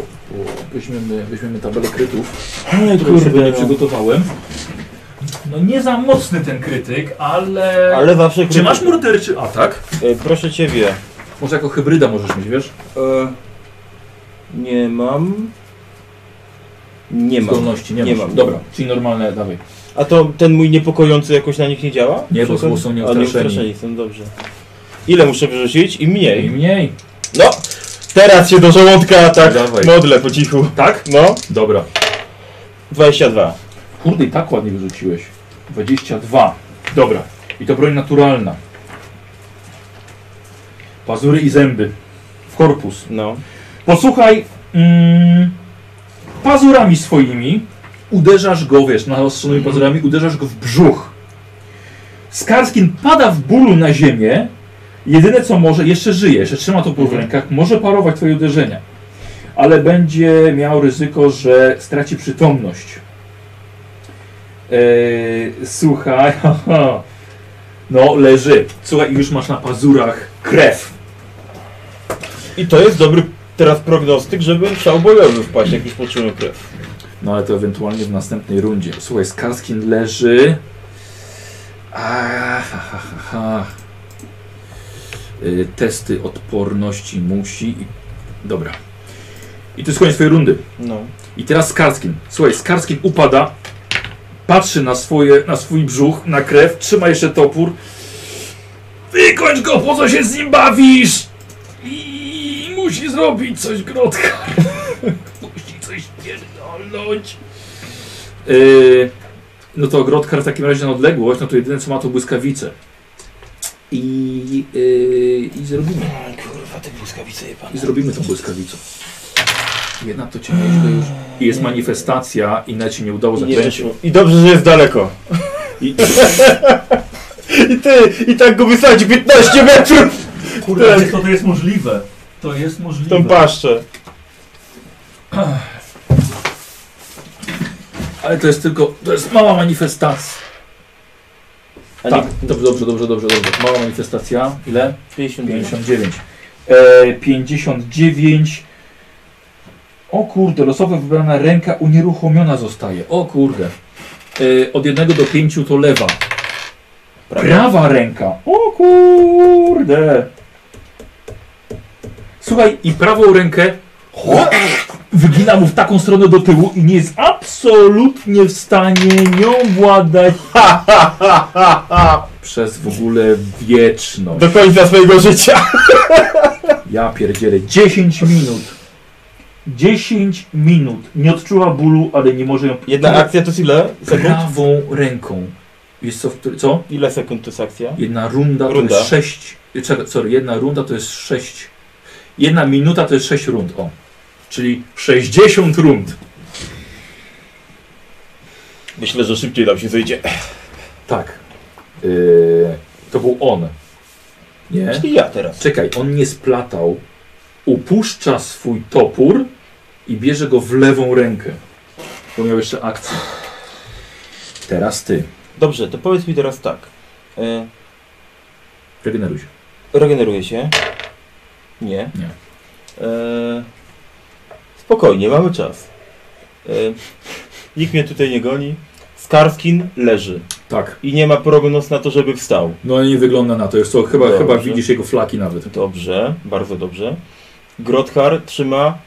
A: Weźmiemy, weźmiemy tabelę krytów.
B: Ale
A: którą sobie nie przygotowałem. No nie za mocny ten krytyk, ale...
B: Ale zawsze...
A: Czy masz morderczy atak?
B: Y, Proszę Ciebie.
A: Może jako hybryda możesz mieć, wiesz?
B: E, nie mam. Nie mam.
A: Zdolności, nie,
B: Nie
A: masz.
B: mam.
A: Dobra, czyli normalne, dawaj.
B: A to ten mój niepokojący jakoś na nich nie działa?
A: Nie, bo
B: Przykład?
A: są
B: A,
A: nieustraszeni.
B: nieustraszeni są, dobrze. Ile muszę wyrzucić? I
A: I
B: mniej.
A: mniej.
B: No! Teraz się do żołądka tak
A: Dawaj.
B: modlę po cichu.
A: Tak?
B: No,
A: Dobra.
B: 22.
A: Kurde, i tak ładnie wyrzuciłeś. 22. Dobra. I to broń naturalna. Pazury i zęby. W korpus.
B: No.
A: Posłuchaj, mm, pazurami swoimi uderzasz go, wiesz, naostrzonymi
B: Mhm.
A: pazurami uderzasz go w brzuch. Skarskin pada w bólu na ziemię. Jedyne co może, jeszcze żyje, jeszcze trzyma to w
B: Mhm.
A: rękach, może parować twoje uderzenia. Ale będzie miał ryzyko, że straci przytomność. Eee, słuchaj, haha. no leży. Słuchaj, już masz na pazurach krew.
B: I to jest dobry teraz prognostyk, żeby w szał bojowy wpaść, jak już poczułem krew.
A: No ale to ewentualnie w następnej rundzie. Słuchaj, Skarskin leży. Ah, ha, ha, ha, ha. Y, testy odporności musi. i- Dobra. I to jest koniec twojej rundy.
B: No.
A: I teraz Skarskin. Słuchaj, Skarskin upada, patrzy na, swoje, na swój brzuch, na krew, trzyma jeszcze topór. Wykończ go, po co się z nim bawisz? I musi zrobić coś grotka. musi coś pierdolnąć. Yy, no to grotkar w takim razie na odległość, no to jedyne co ma to błyskawice. I, yy, i zrobimy.
B: Aj, kurwa, te błyskawice je pan.
A: I zrobimy tą błyskawicą. Jedna to cię nieźle już. I jest manifestacja i na ci nie udało
B: I, nie
A: zakręcić.
B: wyszło. I dobrze, że jest daleko.
A: I
B: I ty, i tak go wysadzi 15 metrów
D: Kurde, ale to, to jest możliwe. To jest
B: w
D: możliwe.
B: tą paszczę.
A: Ale to jest tylko. To jest mała manifestacja.
B: A nie,
A: Tak, dobrze, dobrze, dobrze, dobrze, dobrze. Mała manifestacja. Ile?
B: 59.
A: 59. E, 59. O kurde, losowo wybrana ręka unieruchomiona zostaje. O kurde. E, od 1 do 5 to lewa.
B: Prawie.
A: Prawa ręka. O kurde. Słuchaj, i prawą rękę wygina mu w taką stronę do tyłu i nie jest absolutnie w stanie nią władać przez w ogóle wieczność.
E: Do końca swojego życia.
A: Ja pierdzielę. 10 minut. 10 minut. Nie odczuwa bólu, ale nie może ją...
B: Jedna akcja to jest ile sekund?
A: Prawą ręką. Jest co? W której- co?
B: Ile sekund to jest akcja?
A: Jedna runda,
B: Runda.
A: to jest 6. Sorry, jedna runda to jest 6. Jedna minuta to jest 6 rund. O. Czyli 60 rund.
B: Myślę, że szybciej nam się zejdzie.
A: Tak. Yy, to był on. Nie?
B: Czyli ja teraz.
A: Czekaj, on nie splatał. Upuszcza swój topór i bierze go w lewą rękę. Bo miał jeszcze akcję. Teraz ty.
B: Dobrze, to powiedz mi teraz tak. E,
A: Regeneruj się.
B: regeneruję się? Nie.
A: Nie.
B: E, spokojnie, mamy czas. E, nikt mnie tutaj nie goni. Skarskin leży.
A: Tak.
B: I nie ma prognoz na to, żeby wstał.
A: No ale nie wygląda na to. Jest to chyba,
B: Dobrze.
A: chyba widzisz jego flaki nawet.
B: Dobrze, bardzo dobrze. Grothar trzyma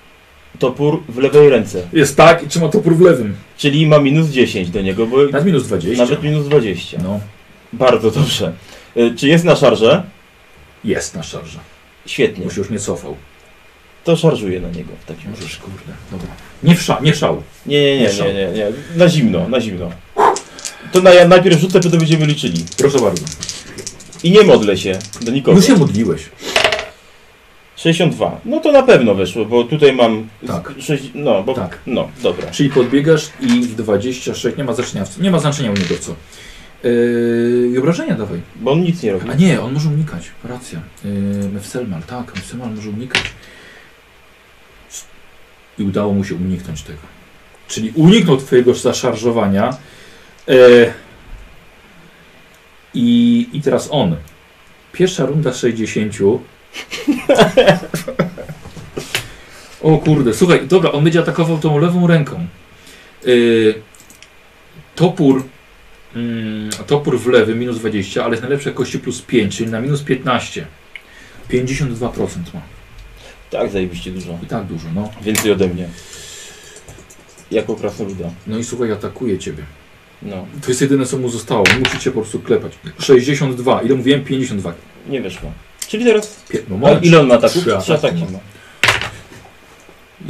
B: topór w lewej ręce.
A: Jest tak i trzyma topór w lewym.
B: Czyli ma minus 10 do niego, bo
A: Nawet minus 20.
B: nawet minus 20.
A: No.
B: Bardzo dobrze. E, Czy jest na szarże?
A: Jest na szarze.
B: Świetnie.
A: Bo się już nie cofał.
B: To szarżuję na niego w takim razie.
A: Możesz, kurde. Dobra. Nie, wsza, nie szał.
B: Nie, nie, nie,
A: Mieszam.
B: nie, nie, nie. Na zimno, na zimno. To na, ja najpierw rzucę, czy to będziemy liczyli.
A: Proszę bardzo.
B: I nie modlę się do nikogo.
A: No się modliłeś.
B: 62. No to na pewno weszło, bo tutaj mam. z-
A: Tak.
B: sześć- no, bo.
A: Tak.
B: No, dobra.
A: Czyli podbiegasz i w 26. Nie ma znaczenia. w- Nie ma znaczenia u niego co. Yy, i obrażenia dawaj.
B: Bo on nic nie robi.
A: A nie, on może unikać. Racja. Yy, Mefselman, tak, Mefselman może unikać. I udało mu się uniknąć tego. Czyli uniknął twojego zaszarżowania. Yy, i, I teraz on. Pierwsza runda z 60. O kurde, słuchaj, dobra, on będzie atakował tą lewą ręką. Yy, topór Mm, topór w lewy minus 20, ale z najlepszej kości plus 5, czyli na minus 15. 52% ma.
B: Tak, zajebiście dużo.
A: I tak dużo, no.
B: Więcej ode mnie. Jako krasnoluda.
A: No i słuchaj, atakuje ciebie.
B: No,
A: To jest jedyne, co mu zostało. Musi cię po prostu klepać. 62, ile mówiłem? 52.
B: nie weszło. Czyli teraz.
A: Pię- no
B: A
A: moment.
B: ile on ma ataków?
A: Trzy
B: Trzy
A: ataki
B: ataki
A: ma.
B: ma.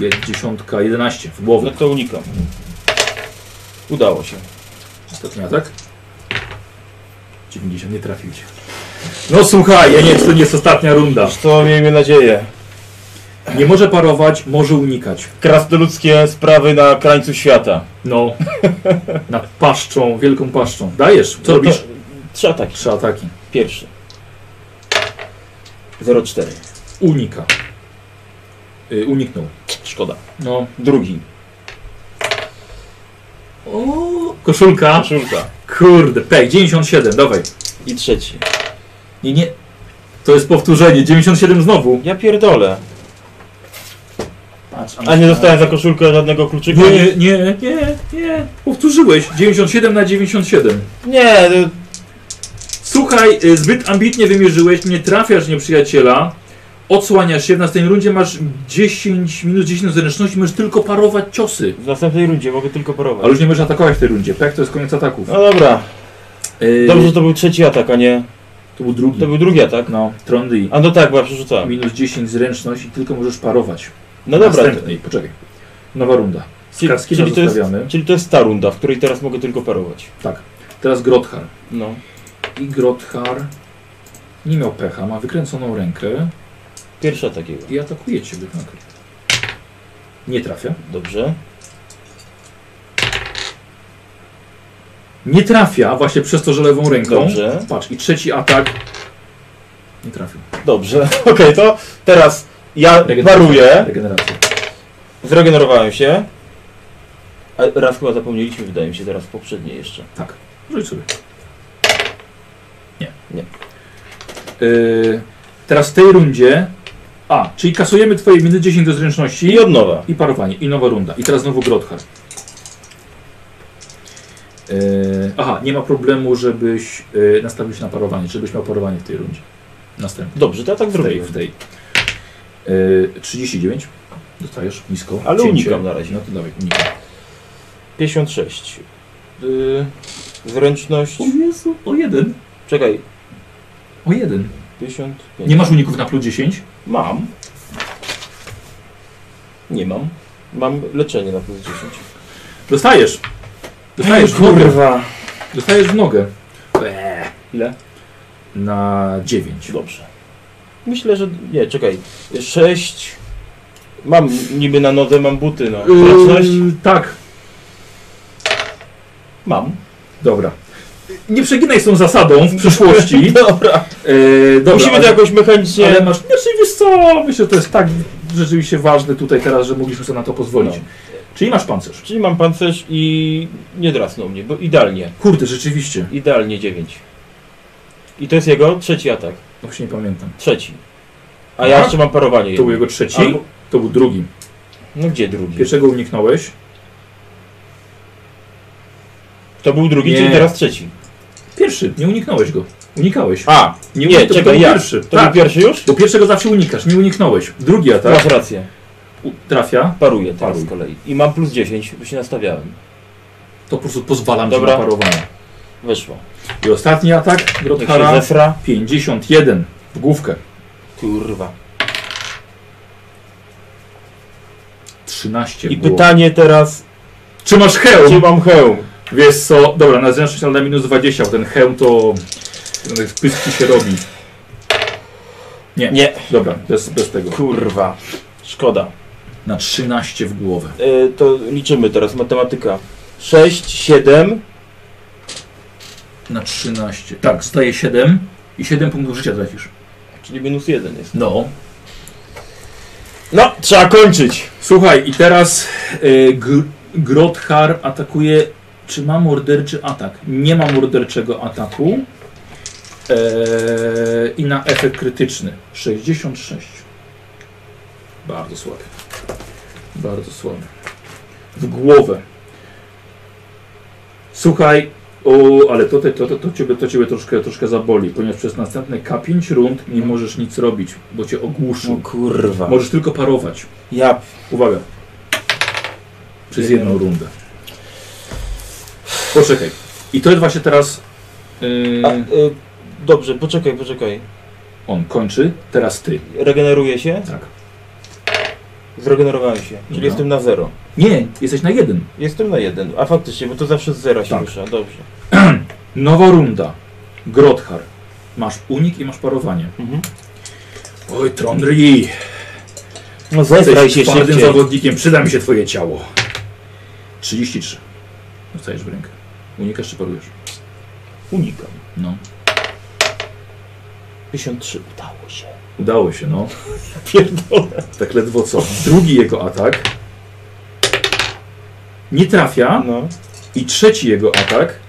A: Je- Dziesiątka, 11 w
B: No
A: głowę.
B: to unikam. Udało się.
A: Ostatni atak. 90, nie trafił cię. No słuchaj, ja nie wiem, czy to nie jest ostatnia runda.
B: To miejmy nadzieję.
A: Nie może parować, może unikać.
B: Krasnoludzkie sprawy na krańcu świata.
A: No. Nad paszczą, wielką paszczą. Dajesz, co
B: No to
A: robisz?
B: Trzy ataki.
A: Trzy ataki.
B: Pierwszy. 0,4.
A: Unika. Y, uniknął.
B: Szkoda.
A: No.
B: Drugi.
A: O, koszulka.
B: Koszulka.
A: Kurde, pej, 97, dawaj.
B: I trzeci.
A: Nie, nie. To jest powtórzenie, 97 znowu.
B: Ja pierdolę.
A: Patrz, no.
B: A nie dostałem za koszulkę żadnego kluczyka?
A: Nie, nie, nie, nie, nie. Powtórzyłeś, 97 na 97.
B: Nie, no,
A: Słuchaj, y, zbyt ambitnie wymierzyłeś, nie trafiasz nieprzyjaciela. Odsłaniasz się, w następnej rundzie masz 10 minus 10 zręczności, możesz tylko parować ciosy.
B: w następnej rundzie mogę tylko
A: Ale
B: parować.
A: już nie możesz atakować w tej rundzie, pech to jest koniec ataków.
B: No dobra.
A: Y,
B: Dobrze, że to był trzeci atak, a nie...
A: to był drugi.
B: To był drugi atak.
A: No, Trondy.
B: A no tak, bo ja przerzucałem.
A: Minus 10 zręczność i tylko możesz parować.
B: No dobra, to-
A: Następnej, poczekaj. Nowa runda.
B: czyli,
A: Kaskina
B: czyli, to jest,
A: zostawiamy.
B: czyli to jest ta runda, w której teraz mogę tylko parować.
A: Tak. Teraz Grothar.
B: No.
A: I Grothar nie miał pecha, ma wykręconą rękę
B: Pierwszy atak jego.
A: i atakuje ciebie nagle. Nie trafia.
B: Dobrze.
A: Nie trafia właśnie przez to, że lewą ręką.
B: Dobrze.
A: Patrz, i trzeci atak. Nie trafił.
B: Dobrze. Okej, to teraz ja paruję.
A: Regeneracja.
B: Zregenerowałem się. A raz chyba zapomnieliśmy, wydaje mi się, teraz poprzednie jeszcze.
A: Tak. Rzuć sobie. Yy, teraz w tej rundzie. A, czyli kasujemy twoje minus 10 do zręczności.
B: I od nowa.
A: I parowanie, i nowa runda. I teraz znowu Grothar. Eee, aha, nie ma problemu, żebyś e, nastawił się na parowanie, żebyś miał parowanie w tej rundzie. Następny.
B: Dobrze, to ja tak
A: W tej,
B: zrobiłem.
A: w tej. Eee, 39. Dostajesz nisko.
B: Ale
A: Cięcie.
B: unikam na razie.
A: No to dawaj, unikam.
B: 56. Yy, zręczność.
A: Jezu, o jeden.
B: Czekaj,
A: O jeden.
B: 55.
A: Nie masz uników na plus 10?
B: Mam. Nie mam. Mam leczenie na plus 10.
A: Dostajesz. Dostajesz w nogę. Dostajesz w nogę. Eee,
B: Ile?
A: Na 9.
B: Dobrze. Myślę, że. Nie, czekaj. 6. Mam niby na nodze mam buty, no. Zręczność?
A: Eee, tak.
B: Mam.
A: Dobra. Nie przeginaj z tą zasadą w przyszłości.
B: Dobra.
A: E, dobra,
B: Musimy to
A: ale,
B: jakoś mechanicznie.
A: ale masz. Znaczy, wiesz co? Myślę, że to jest tak rzeczywiście ważne tutaj teraz, że mogliśmy sobie na to pozwolić.
B: No.
A: Czyli masz pancerz.
B: Czyli mam pancerz i nie drasnął mnie, bo idealnie.
A: Kurde, rzeczywiście.
B: Idealnie 9. I to jest jego trzeci atak.
A: No właśnie nie pamiętam.
B: Trzeci. A ja
A: Aha.
B: jeszcze mam parowanie.
A: To był
B: jedno.
A: jego trzeci,
B: Albo-
A: to był drugi.
B: No gdzie drugi?
A: Pierwszego uniknąłeś.
B: To był drugi,
A: Nie.
B: czyli teraz trzeci.
A: Pierwszy, nie uniknąłeś go. Unikałeś.
B: A,
A: nie,
B: nie,
A: uniknąłeś, to
B: czekaj,
A: był
B: ja.
A: pierwszy.
B: To
A: tak,
B: był pierwszy już?
A: bo pierwszego zawsze unikasz, nie uniknąłeś. Drugi atak
B: Masz rację.
A: u- trafia,
B: Paruję teraz
A: Paruj.
B: z kolei. I mam plus 10, bo się nastawiałem.
A: to po prostu pozwalam
B: Dobra.
A: ci na parowanie.
B: Weszło.
A: I ostatni atak,
B: Jak się
A: Grothara,
B: zesra,
A: 51 w główkę.
B: kurwa.
A: 13
B: I
A: było.
B: pytanie teraz,
A: Czy masz hełm?
B: czy mam hełm?
A: Wiesz co, dobra, na zręczność ale na minus 20, bo ten hełm to... Ten pyski się robi.
B: Nie,
A: Dobra, bez, bez tego.
B: kurwa. Szkoda.
A: Na 13 w głowę.
B: E, to liczymy teraz, matematyka. 6, 7,
A: Na 13. Tak, staje 7 i 7 punktów życia tracisz.
B: czyli minus 1 jest.
A: No.
B: No, trzeba kończyć.
A: Słuchaj, i teraz y, gr Grothar atakuje... Czy ma morderczy atak? Nie ma morderczego ataku. Eee, I na efekt krytyczny 66. Bardzo słaby. Bardzo słaby. W głowę. Słuchaj, o, ale to, te- to, to, to, ciebie, to ciebie troszkę, troszkę zaboli, ponieważ przez następne K5 rund nie możesz nic robić, bo cię ogłuszył.
B: kurwa.
A: Możesz tylko parować.
B: Ja.
A: Uwaga. Przez jedną rundę. Poczekaj. I to jest właśnie teraz. Yy,
B: A, e, dobrze, poczekaj, poczekaj.
A: on kończy, teraz ty.
B: Regeneruję się?
A: Tak.
B: Zregenerowałem się, czyli
A: No.
B: jestem na 0.
A: Nie, jesteś na jeden.
B: Jestem na 1, a faktycznie, bo to zawsze z 0 się
A: Tak.
B: rusza, dobrze.
A: Nowa runda. Grothar. Masz unik i masz parowanie. Oj, Trondri.
B: No zezraj się
A: Jesteś twardym
B: szybciej.
A: zawodnikiem. Przyda mi się twoje ciało. 33. Dostajesz w rękę. Unikasz czy parujesz?
B: Unikam.
A: No.
B: 53, udało się.
A: Udało się, no.
B: Pierdolę.
A: Tak ledwo co. Drugi jego atak. Nie trafia.
B: No,
A: I trzeci jego atak.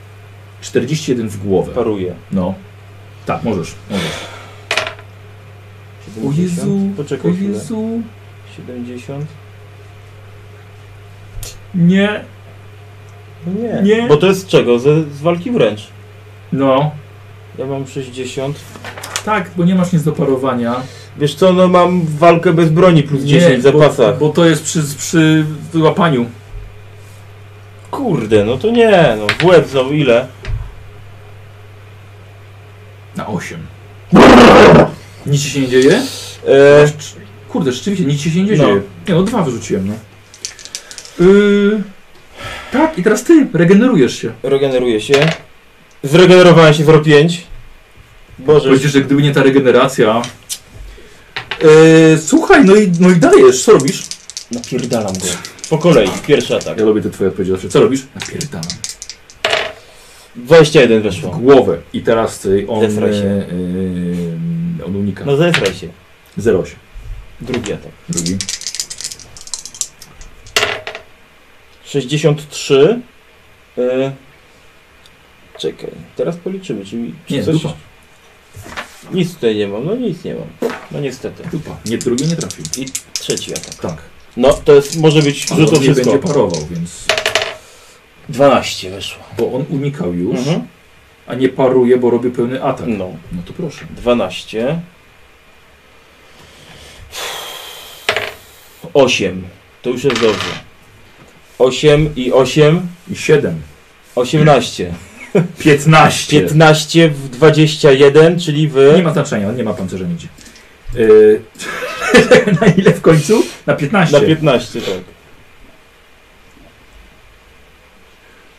A: 41 w głowę.
B: paruję.
A: No. Tak, możesz. możesz.
B: 70. Poczekaj chwilę. 70.
A: Nie.
B: No Nie.
A: Nie.
B: Bo to jest z czego? Ze, z walki wręcz.
A: No.
B: Ja mam 60.
A: Tak, bo nie masz nic do parowania.
B: Wiesz co, no mam walkę bez broni plus 10 w zapasach.
A: Bo, bo to jest przy, przy łapaniu.
B: Kurde, no to nie, no w łeb znowu ile?
A: Na 8. Nic ci się nie dzieje?
B: E,
A: Kurde, rzeczywiście, nic ci się nie
B: No.
A: dzieje. Nie, no dwa wyrzuciłem, no. Yy, tak, i teraz ty regenerujesz się.
B: regeneruję się. Zregenerowałem się 05. Boże,
A: Powiedzisz, że gdyby nie ta regeneracja... Yy, słuchaj, no i, no i dajesz, co robisz? Tak,
B: napierdalam go. Po kolei, pierwszy atak.
A: Ja lubię te twoje odpowiedzi zawsze. Co robisz? Napierdalam.
B: 21
A: W
B: weszło.
A: głowę. I teraz y, on...
B: Zesraj się.
A: y, y, on unika.
B: No zesraj się.
A: 08.
B: Drugi atak.
A: Drugi.
B: 63. E, czekaj, teraz policzymy, czyli czy
A: Nie,
B: coś...
A: dupa.
B: Nic tutaj nie mam, no nic nie mam. No niestety.
A: Dupa. Nie, drugi nie trafił.
B: Trzeci atak.
A: Tak.
B: No to jest, może być
A: Ale
B: rzut
A: on
B: od
A: nie będzie
B: wszystko.
A: parował, więc...
B: 12 wyszło.
A: Bo on unikał już,
B: Mhm.
A: a nie paruje, bo robi pełny atak.
B: No,
A: No to proszę.
B: 12. 8. To już jest dobrze. 8 i 8,
A: I 7.
B: 18.
A: 15.
B: 15 w 21, czyli w...
A: Nie ma znaczenia, on nie ma pancerza nigdzie. Yy, na ile w końcu? Na 15.
B: Na 15, tak.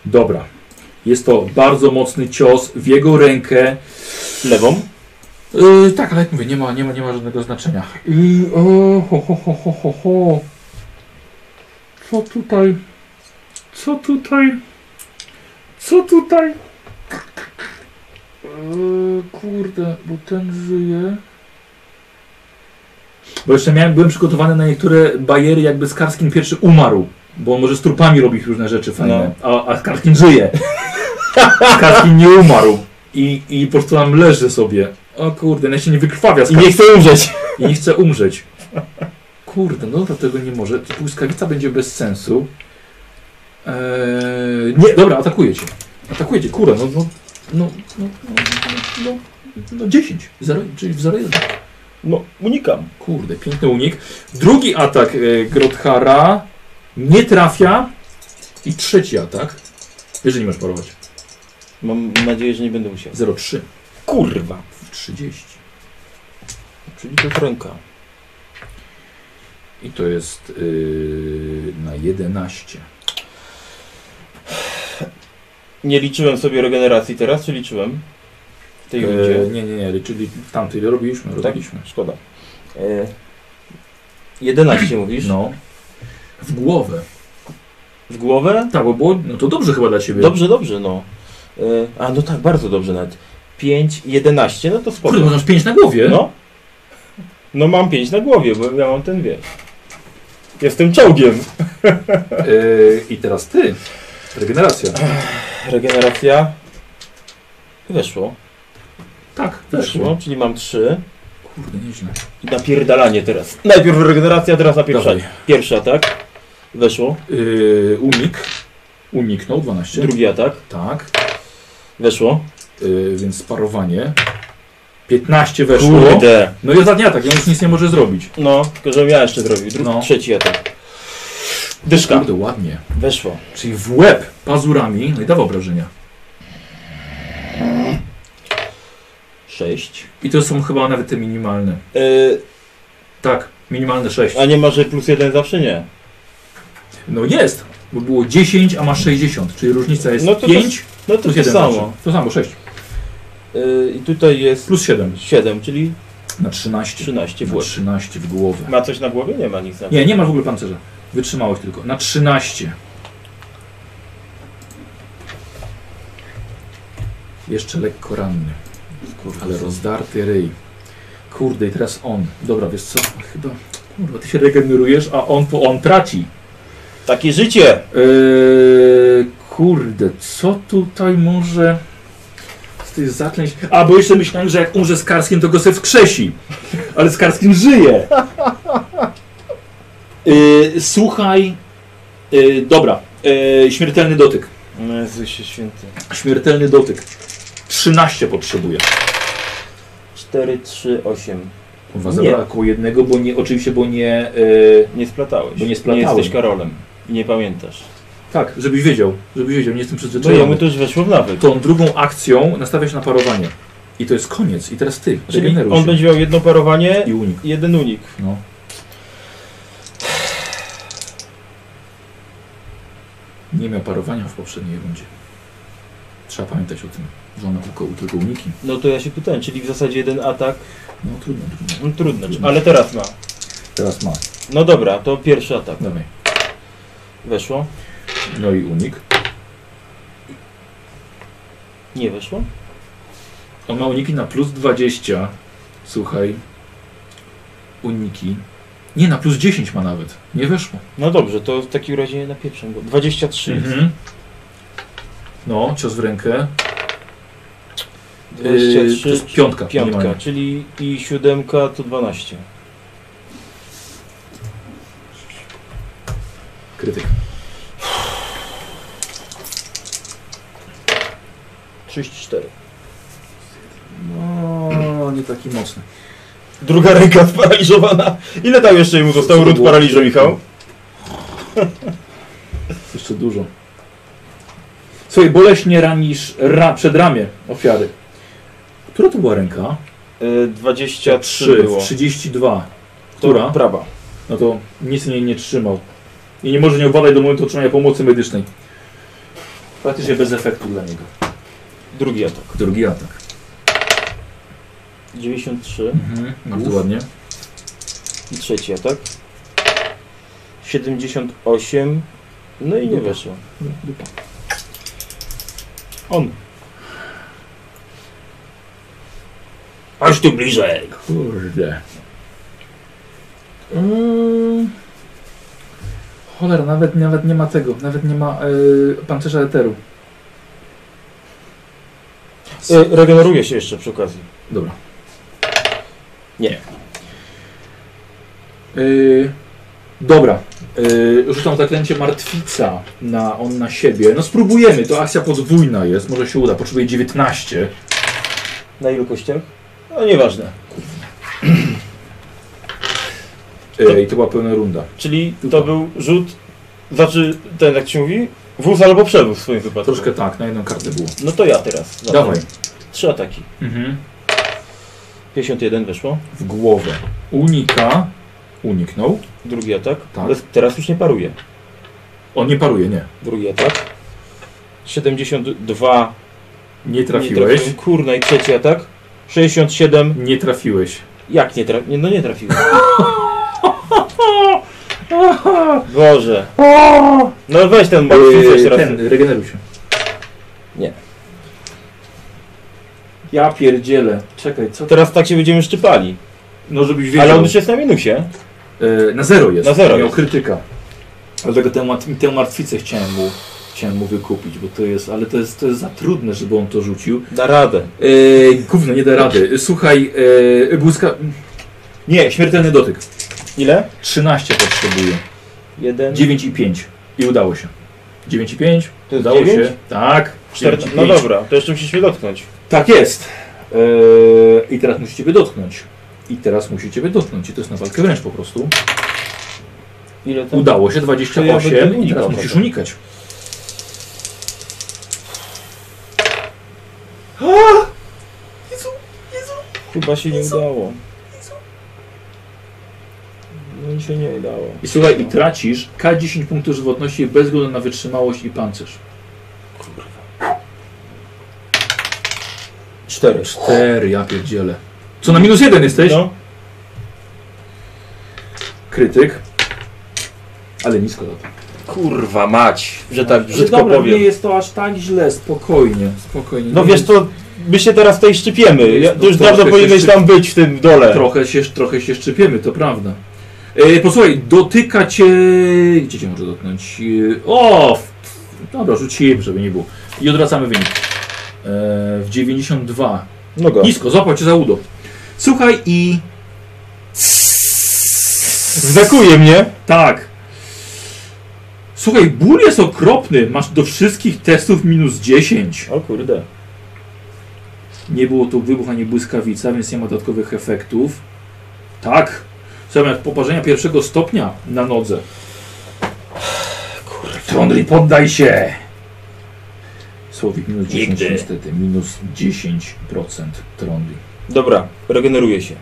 A: Dobra. Jest to bardzo mocny cios w jego rękę.
B: Lewą.
A: Yy, tak, ale jak mówię, nie ma, nie ma, nie ma żadnego znaczenia. I Yy, o, ho, ho, ho, ho, ho, ho. Co tutaj? Co tutaj? Co tutaj? Yy, kurde, bo ten żyje. Bo jeszcze miałem, byłem przygotowany na niektóre bajery, jakby Skarskin pierwszy umarł. Bo on może z trupami robić różne rzeczy fajne. A, a Skarskin żyje. Skarskin nie umarł. I, I po prostu tam leży sobie. O kurde, no ja się nie wykrwawia.
E: I nie chcę umrzeć.
A: I nie chce umrzeć. Kurde, no dobra, tego nie może. To błyskawica będzie bez sensu. Eee, nie, dobra, atakuje cię. Atakuje cię, kurde, no, no, no, no, no, no, no 10, zero, czyli w 0,1.
B: No, unikam.
A: Kurde, piękny unik. Drugi atak e, Grothara nie trafia. I trzeci atak. Wiesz, że nie masz parować.
B: Mam nadzieję, że nie będę musiał.
A: 0,3
B: Kurwa.
A: w 30.
B: Czyli to ręka.
A: I to jest yy, na 11.
B: Nie liczyłem sobie regeneracji teraz, czy liczyłem? W tej rundzie. Tak?
A: Eee, nie, nie, nie, czyli tamtej robiliśmy, robiliśmy.
B: Szkoda. E, 11 mówisz?
A: No. W głowę.
B: W głowę?
A: Tak, bo było, no to dobrze chyba dla ciebie.
B: Dobrze, dobrze, no. E, a no tak, bardzo dobrze nawet. 5, 11, no to
A: Kurde, bo
B: spoko.
A: masz 5 na głowie.
B: No. No mam 5 na głowie, bo ja mam ten wiesz. Jestem czołgiem.
A: Eee, I teraz ty. Regeneracja.
B: Regeneracja. Weszło.
A: Tak,
B: Weszło, czyli mam 3.
A: Kurde, nieźle.
B: I napierdalanie teraz. Najpierw regeneracja, teraz napierdalanie. Pierwszy atak. Weszło.
A: Eee, unik. Uniknął 12.
B: Drugi atak.
A: Tak.
B: Weszło.
A: Eee, więc sparowanie. 15 weszło.
B: Kurde.
A: No i ostatni atak, ja już nic nie może zrobić.
B: No, tylko żebym ja jeszcze zrobił. Drugi,
A: No.
B: trzeci atak. Dyszka.
A: Kurde, ładnie.
B: Weszło.
A: Czyli w łeb pazurami. No i dawa obrażenia.
B: Sześć.
A: I to są chyba nawet te minimalne.
B: Yy,
A: Tak, minimalne 6.
B: a nie ma, że plus jeden zawsze nie.
A: No jest, bo było 10, a masz 60, czyli różnica jest
B: No to to-
A: 5
B: No to
A: plus
B: to
A: 1.
B: samo.
A: To samo, 6.
B: Yy, I tutaj jest
A: Plus 7
B: siedem, czyli
A: na 13.
B: 13
A: Na
B: włoż.
A: 13 w głowę.
B: Ma coś na głowie? Nie ma nic na
A: Nie, nie masz w ogóle pancerza. Wytrzymałeś tylko. Na 13. Jeszcze lekko ranny,
B: Kurwa,
A: ale rozdarty ryj. Kurde, i teraz on. Dobra, wiesz co? Chyba. Kurwa, ty się regenerujesz, a on, po on traci.
B: Takie życie!
A: Eee, kurde, co tutaj może z tych zaklęć... A, bo jeszcze myślałem, że jak umrze z Karskim, to go se wskrzesi. Ale z Karskim żyje. Eee, słuchaj... Eee, dobra, eee, śmiertelny dotyk.
B: No Jezusie święty.
A: Śmiertelny dotyk. 13 potrzebuje.
B: 4, 3, 8.
A: Kurwa,
B: Nie.
A: zabrakło jednego, bo nie, oczywiście, bo nie... eee,
B: Nie splatałeś.
A: Bo nie splatałem.
B: jesteś Karolem. I nie pamiętasz.
A: tak, żebyś wiedział, żebyś wiedział, nie jestem
B: No
A: przyzwyczajony.
B: jemu to już weszło w nawyk.
A: tą drugą akcją nastawia się na parowanie. I to jest koniec. I teraz ty,
B: Czyli
A: regeneruj
B: on
A: się.
B: będzie miał jedno parowanie
A: I unik.
B: i jeden unik.
A: No. Nie miał parowania w poprzedniej rundzie. Trzeba pamiętać o tym, że ona tylko, tylko uniki.
B: No to ja się pytałem, czyli w zasadzie jeden atak.
A: No trudno, trudno.
B: No, trudno, ale teraz ma.
A: Teraz ma.
B: No dobra, to pierwszy atak.
A: Dawaj.
B: Weszło?
A: No i unik.
B: Nie weszło?
A: On ma uniki na plus 20. Słuchaj. Uniki. Nie, na plus 10 ma nawet. Nie weszło.
B: No dobrze, to w takim razie na pierwszym go. 23 jest.
A: Mhm. No, cios w rękę. Yy, to jest piątka.
B: Piątka,
A: minimalnie.
B: czyli i siódemka to 12.
A: Krytyk.
B: 34.
A: No, nie taki mocny.
B: Druga ręka sparaliżowana. Ile tam jeszcze mu został ród paraliżu, Michał?
A: Jeszcze dużo. Słuchaj, boleśnie ranisz ra, przedramię ofiary. Która to była ręka?
B: Yy, 23 było.
A: 32.
B: To
A: Która?
B: prawa.
A: No to nic nie, nie trzymał. I nie może nie obadać do momentu otrzymania pomocy medycznej. Praktycznie bez efektu dla niego.
B: Drugi atak.
A: Drugi atak.
B: 93.
A: Mhm. Bardzo ładnie.
B: I trzeci atak. 78. No i nie
A: Dupa.
B: weszło. On. Aż tu bliżej.
A: Kurde. Mm. Cholera, nawet, nawet nie ma tego, nawet nie ma yy, pancerza eteru.
B: E, regeneruje się jeszcze przy okazji.
A: Dobra.
B: Nie.
A: Yy, dobra. Yy, rzucam zaklęcie martwica na, on na siebie. No spróbujemy, to akcja podwójna jest, może się uda. Potrzebuję 19.
B: Na ilu kościach? No nieważne.
A: Yy, I to była pełna runda.
B: Czyli
A: Dupa.
B: to był rzut, znaczy ten jak się mówi, wóz albo przewóz w swoim wypadku.
A: Troszkę tak, na jedną kartę było.
B: No to ja teraz. Zatem
A: Dawaj.
B: Trzy ataki. 51 weszło.
A: W głowę. Unika. Uniknął.
B: Drugi atak.
A: Tak.
B: Ale Teraz już nie paruje.
A: On nie paruje, nie.
B: Drugi atak. 72
A: Nie
B: Nie
A: trafiłeś.
B: trafiłem. Kurna i trzeci atak. 67.
A: Nie trafiłeś.
B: Jak nie trafiłem? No nie trafiłem. Boże. No weź ten martwiec
A: Yy,
B: teraz.
A: ten, regeneruj się.
B: Nie.
A: Ja pierdzielę. Czekaj, co
B: Teraz tak się będziemy szczypali.
A: No żebyś wiedział.
B: Ale on już jest na minusie.
A: E, na zero jest.
B: Na zero
A: Miał
B: jest.
A: krytyka. Dlatego tę, mat- tę martwicę chciałem mu, chciałem mu wykupić, bo to jest, ale to jest, to jest za trudne, żeby on to rzucił.
B: Da radę.
A: E, gówno, nie da rady. Słuchaj, e, błyska... Nie, śmiertelny dotyk.
B: Ile?
A: 13 potrzebuje.
B: Jeden.
A: 9 i 5. I udało się. 9 i 5.
B: To jest
A: Udało
B: dziewięć?
A: się. Tak.
B: 14.
A: 9 i
B: No
A: 5.
B: dobra, to jeszcze musieliśmy dotknąć.
A: Tak jest. E, I teraz musicie by dotknąć. I teraz musicie by dotknąć. I to jest na walkę wręcz po prostu.
B: Ile tam?
A: Udało się,
B: To ja
A: 28
B: będę
A: i teraz
B: unikał
A: musisz
B: tego.
A: unikać.
B: Chyba się nie udało. No mi się nie udało.
A: I słuchaj, i tracisz K10 punktów żywotności bez względu na wytrzymałość i pancerz.
B: Cztery.
A: 4, ja pierdzielę. Co na minus jeden jesteś?
B: No.
A: Krytyk. Ale nisko za to.
B: Kurwa mać, że tak brzydko
A: Dobra,
B: powiem.
A: nie jest to aż tak źle, spokojnie, spokojnie.
B: No
A: Nie
B: wiesz co, my się teraz tej szczypiemy. Ja,
A: No
B: to już
A: troszkę
B: dawno
A: się
B: powinieneś
A: szczyp-
B: tam być w tym dole.
A: Trochę się, trochę się szczypiemy, to prawda. E, posłuchaj, dotyka cię. Gdzie cię może dotknąć? E, o! w- Dobra, rzuciłem, żeby nie było. I odwracamy wynik. E, w 92.
B: No go.
A: Nisko, złapał cię za udo. Słuchaj i.
B: Zdekuje mnie.
A: Tak. Słuchaj, ból jest okropny. Masz do wszystkich testów minus 10.
B: O kurde.
A: Nie było tu wybuch ani błyskawica, więc nie ma dodatkowych efektów. Tak. Słuchaj, jak poparzenia pierwszego stopnia na nodze. Trondri, poddaj się! Słowik minus 10
B: Nigdy.
A: niestety. Minus 10% Trondri.
B: Dobra, regeneruje się.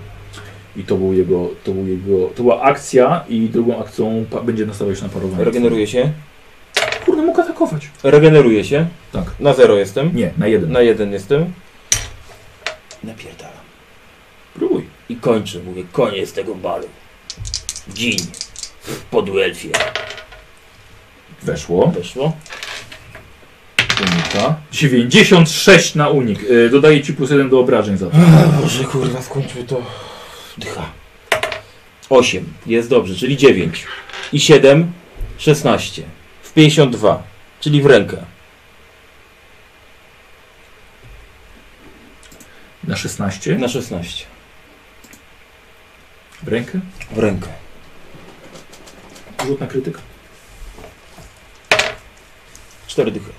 A: I to był jego, to był jego, to była akcja i drugą akcją pa- będzie nastawiać na parowanie.
B: Regeneruje się.
A: Kurde, mógł atakować.
B: Regeneruje się.
A: Tak.
B: Na zero jestem.
A: Nie, na jeden.
B: Na jeden jestem. Napierdalam.
A: Próbuj.
B: I kończę, mówię, koniec tego balu. Dzień. W podłelfie.
A: Weszło.
B: Weszło.
A: Unika. 96 na unik. Y, Dodaję ci plus 1 do obrażeń za to.
B: Boże, kurwa, skończył to. Dycha. 8. Jest dobrze, czyli 9. I 7, 16. W 52, czyli w rękę.
A: Na 16.
B: Na 16.
A: W rękę.
B: W rękę.
A: Rzut na krytyk.
B: Cztery dychy.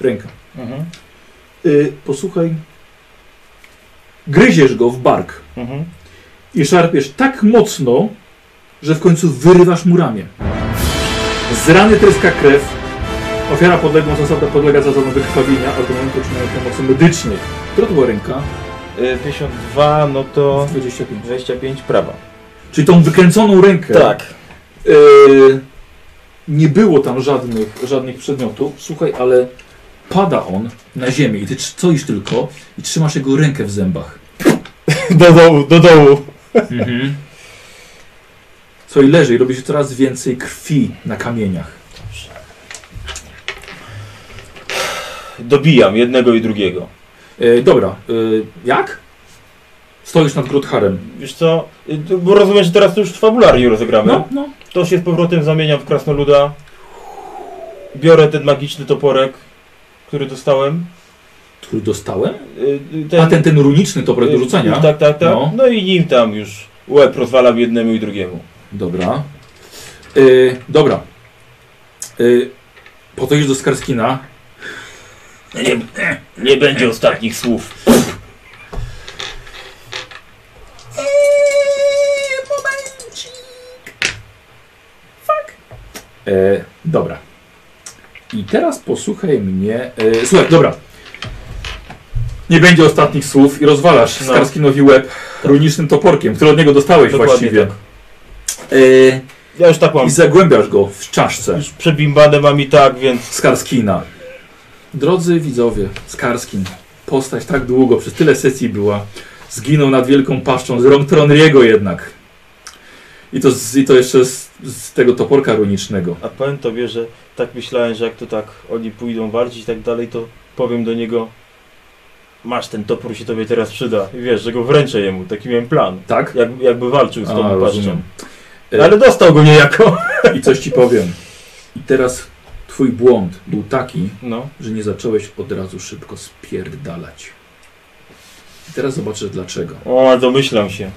A: W rękę.
B: Mhm,
A: Y, posłuchaj. Gryziesz go w bark
B: Mhm.
A: i szarpiesz tak mocno, że w końcu wyrywasz mu ramię. Z rany tryska krew. Ofiara podległa zasada podlega zasadom wykrwawienia, a do momentu czynienia pomocy medycznych. Która to była ręka?
B: Y, 52, no to
A: 25.
B: 25 prawa.
A: Czyli tą wykręconą rękę.
B: Tak.
A: E, nie było tam żadnych, żadnych przedmiotów. Słuchaj, ale pada on na ziemię i ty tr- stoisz tylko i trzymasz jego rękę w zębach.
E: Do dołu, do dołu.
B: Mhm.
A: Co i leży i robi się coraz więcej krwi na kamieniach.
B: Dobijam jednego i drugiego.
A: E, dobra, e, jak? Stoisz nad Grotharem.
B: Wiesz co? Y, to- Bo rozumiem, że teraz to już fabularię rozegramy.
A: No, no.
B: To się z powrotem zamieniam w krasnoluda. Biorę ten magiczny toporek, który dostałem.
A: Który dostałem?
B: Y, y,
A: A ten, ten runiczny topor do
B: y,
A: rzucenia?
B: Tak, tak, tak.
A: No.
B: No. i nim tam już łeb rozwalam jednemu i drugiemu.
A: Dobra. E, dobra. E, podchodzisz do Skarskina.
B: Nie, nie będzie ostatnich słów.
A: E, dobra. I teraz posłuchaj mnie. E, słuchaj, dobra. Nie będzie ostatnich słów i rozwalasz
B: No.
A: Skarskinowi łeb runicznym toporkiem, który od niego dostałeś
B: Dokładnie
A: właściwie.
B: tak.
A: E,
B: Ja już tak mam.
A: I zagłębiasz go w czaszce
B: Już przebimbane mam i tak, więc
A: Skarskina. Drodzy widzowie, Skarskin, postać tak długo, przez tyle sesji była, zginął nad wielką paszczą z rąk Tronriego jednak. I to, z, i to jeszcze z, z tego toporka runicznego.
B: A powiem tobie, że tak myślałem, że jak to tak oni pójdą walczyć i tak dalej, to powiem do niego Masz ten topór, się tobie teraz przyda. I wiesz, że go wręczę jemu. Taki miałem plan.
A: Tak?
B: Jak, jakby walczył z
A: A,
B: tą paszczą.
A: rozumiem. E,
B: No, Ale dostał go niejako.
A: I coś ci powiem. I teraz twój błąd był taki,
B: No.
A: że nie zacząłeś od razu szybko spierdalać. I teraz zobaczysz dlaczego.
B: O, domyślam się.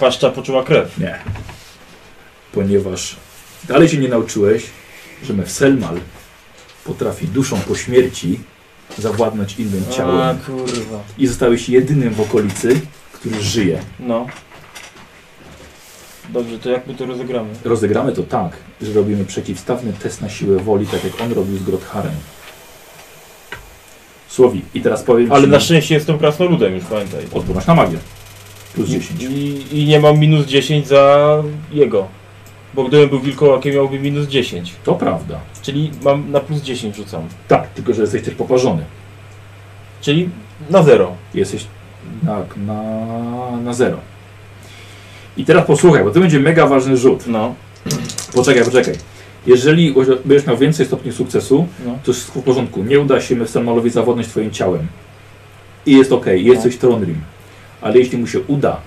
B: Paszcza poczuła krew.
A: Nie. Ponieważ dalej się nie nauczyłeś, że Mefselmal potrafi duszą po śmierci zawładnąć innym
B: A,
A: ciałem.
B: kurwa.
A: I zostałeś jedynym w okolicy, który żyje.
B: No. Dobrze, to jak my to rozegramy?
A: Rozegramy to tak, że robimy przeciwstawny test na siłę woli, tak jak on robił z Grotharem. Słowi, i teraz powiem
B: Ale
A: ci...
B: na szczęście jestem krasnoludem już, pamiętaj.
A: Odporność na magię. Plus 10.
B: I, I nie mam minus 10 za jego. Bo gdybym był wilkołakiem, miałby minus 10.
A: To prawda.
B: Czyli mam na plus 10 rzucam.
A: Tak, tylko że jesteś też poparzony.
B: Czyli na 0.
A: Jesteś tak, na, na zero. I teraz posłuchaj, bo to będzie mega ważny rzut.
B: No.
A: Poczekaj, poczekaj. Jeżeli będziesz miał więcej stopni sukcesu,
B: No.
A: to wszystko w porządku. Nie uda się Mefstalmalowi zawodność twoim ciałem. I jest ok, jesteś Tronrim. Ale jeśli mu się uda,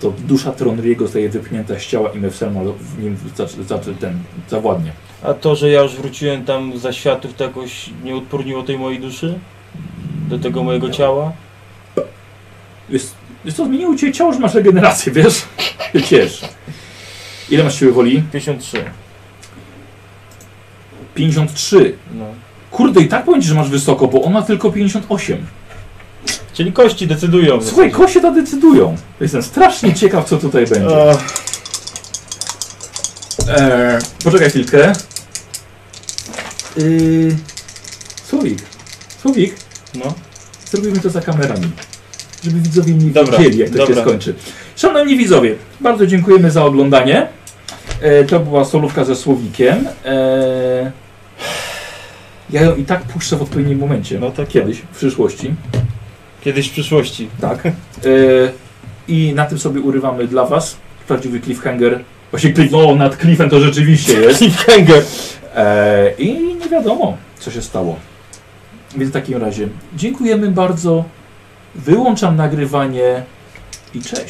A: to dusza Tronriego zostaje wypchnięta z ciała i Mefstalmal w nim za, za, ten, zawładnie.
B: A to, że ja już wróciłem tam za światów, to jakoś nie odporniło tej mojej duszy? Do tego mojego ciała?
A: Jest, jest to zmieniło cię ciało, że masz regenerację, wiesz? Ty Ciesz. Ile masz siły woli?
B: 53.
A: 53.
B: No.
A: Kurde, i tak powiem ci, że masz wysoko, bo on ma tylko 58.
B: Czyli kości decydują. w
A: Słuchaj,
B: zasadzie.
A: kosie to decydują. Jestem strasznie ciekaw, co tutaj będzie.
B: Ach,
A: Eee, poczekaj chwilkę. Yy, Słowik, Słowik,
B: No.
A: zrobimy to za kamerami. Żeby widzowie nie
B: Dobra,
A: wiedzieli, jak to się
B: dobra.
A: skończy. Szanowni widzowie, bardzo dziękujemy za oglądanie. E, to była solówka ze Słowikiem. E, ja ją i tak puszczę w odpowiednim momencie.
B: No tak.
A: Kiedyś, w przyszłości.
B: Kiedyś w przyszłości.
A: Tak. E, I na tym sobie urywamy dla Was. Prawdziwy cliffhanger. Właśnie cliff, o, nad cliffem to rzeczywiście jest.
B: Cliffhanger.
A: E, I nie wiadomo, co się stało. Więc w takim razie dziękujemy bardzo. Wyłączam nagrywanie i cześć.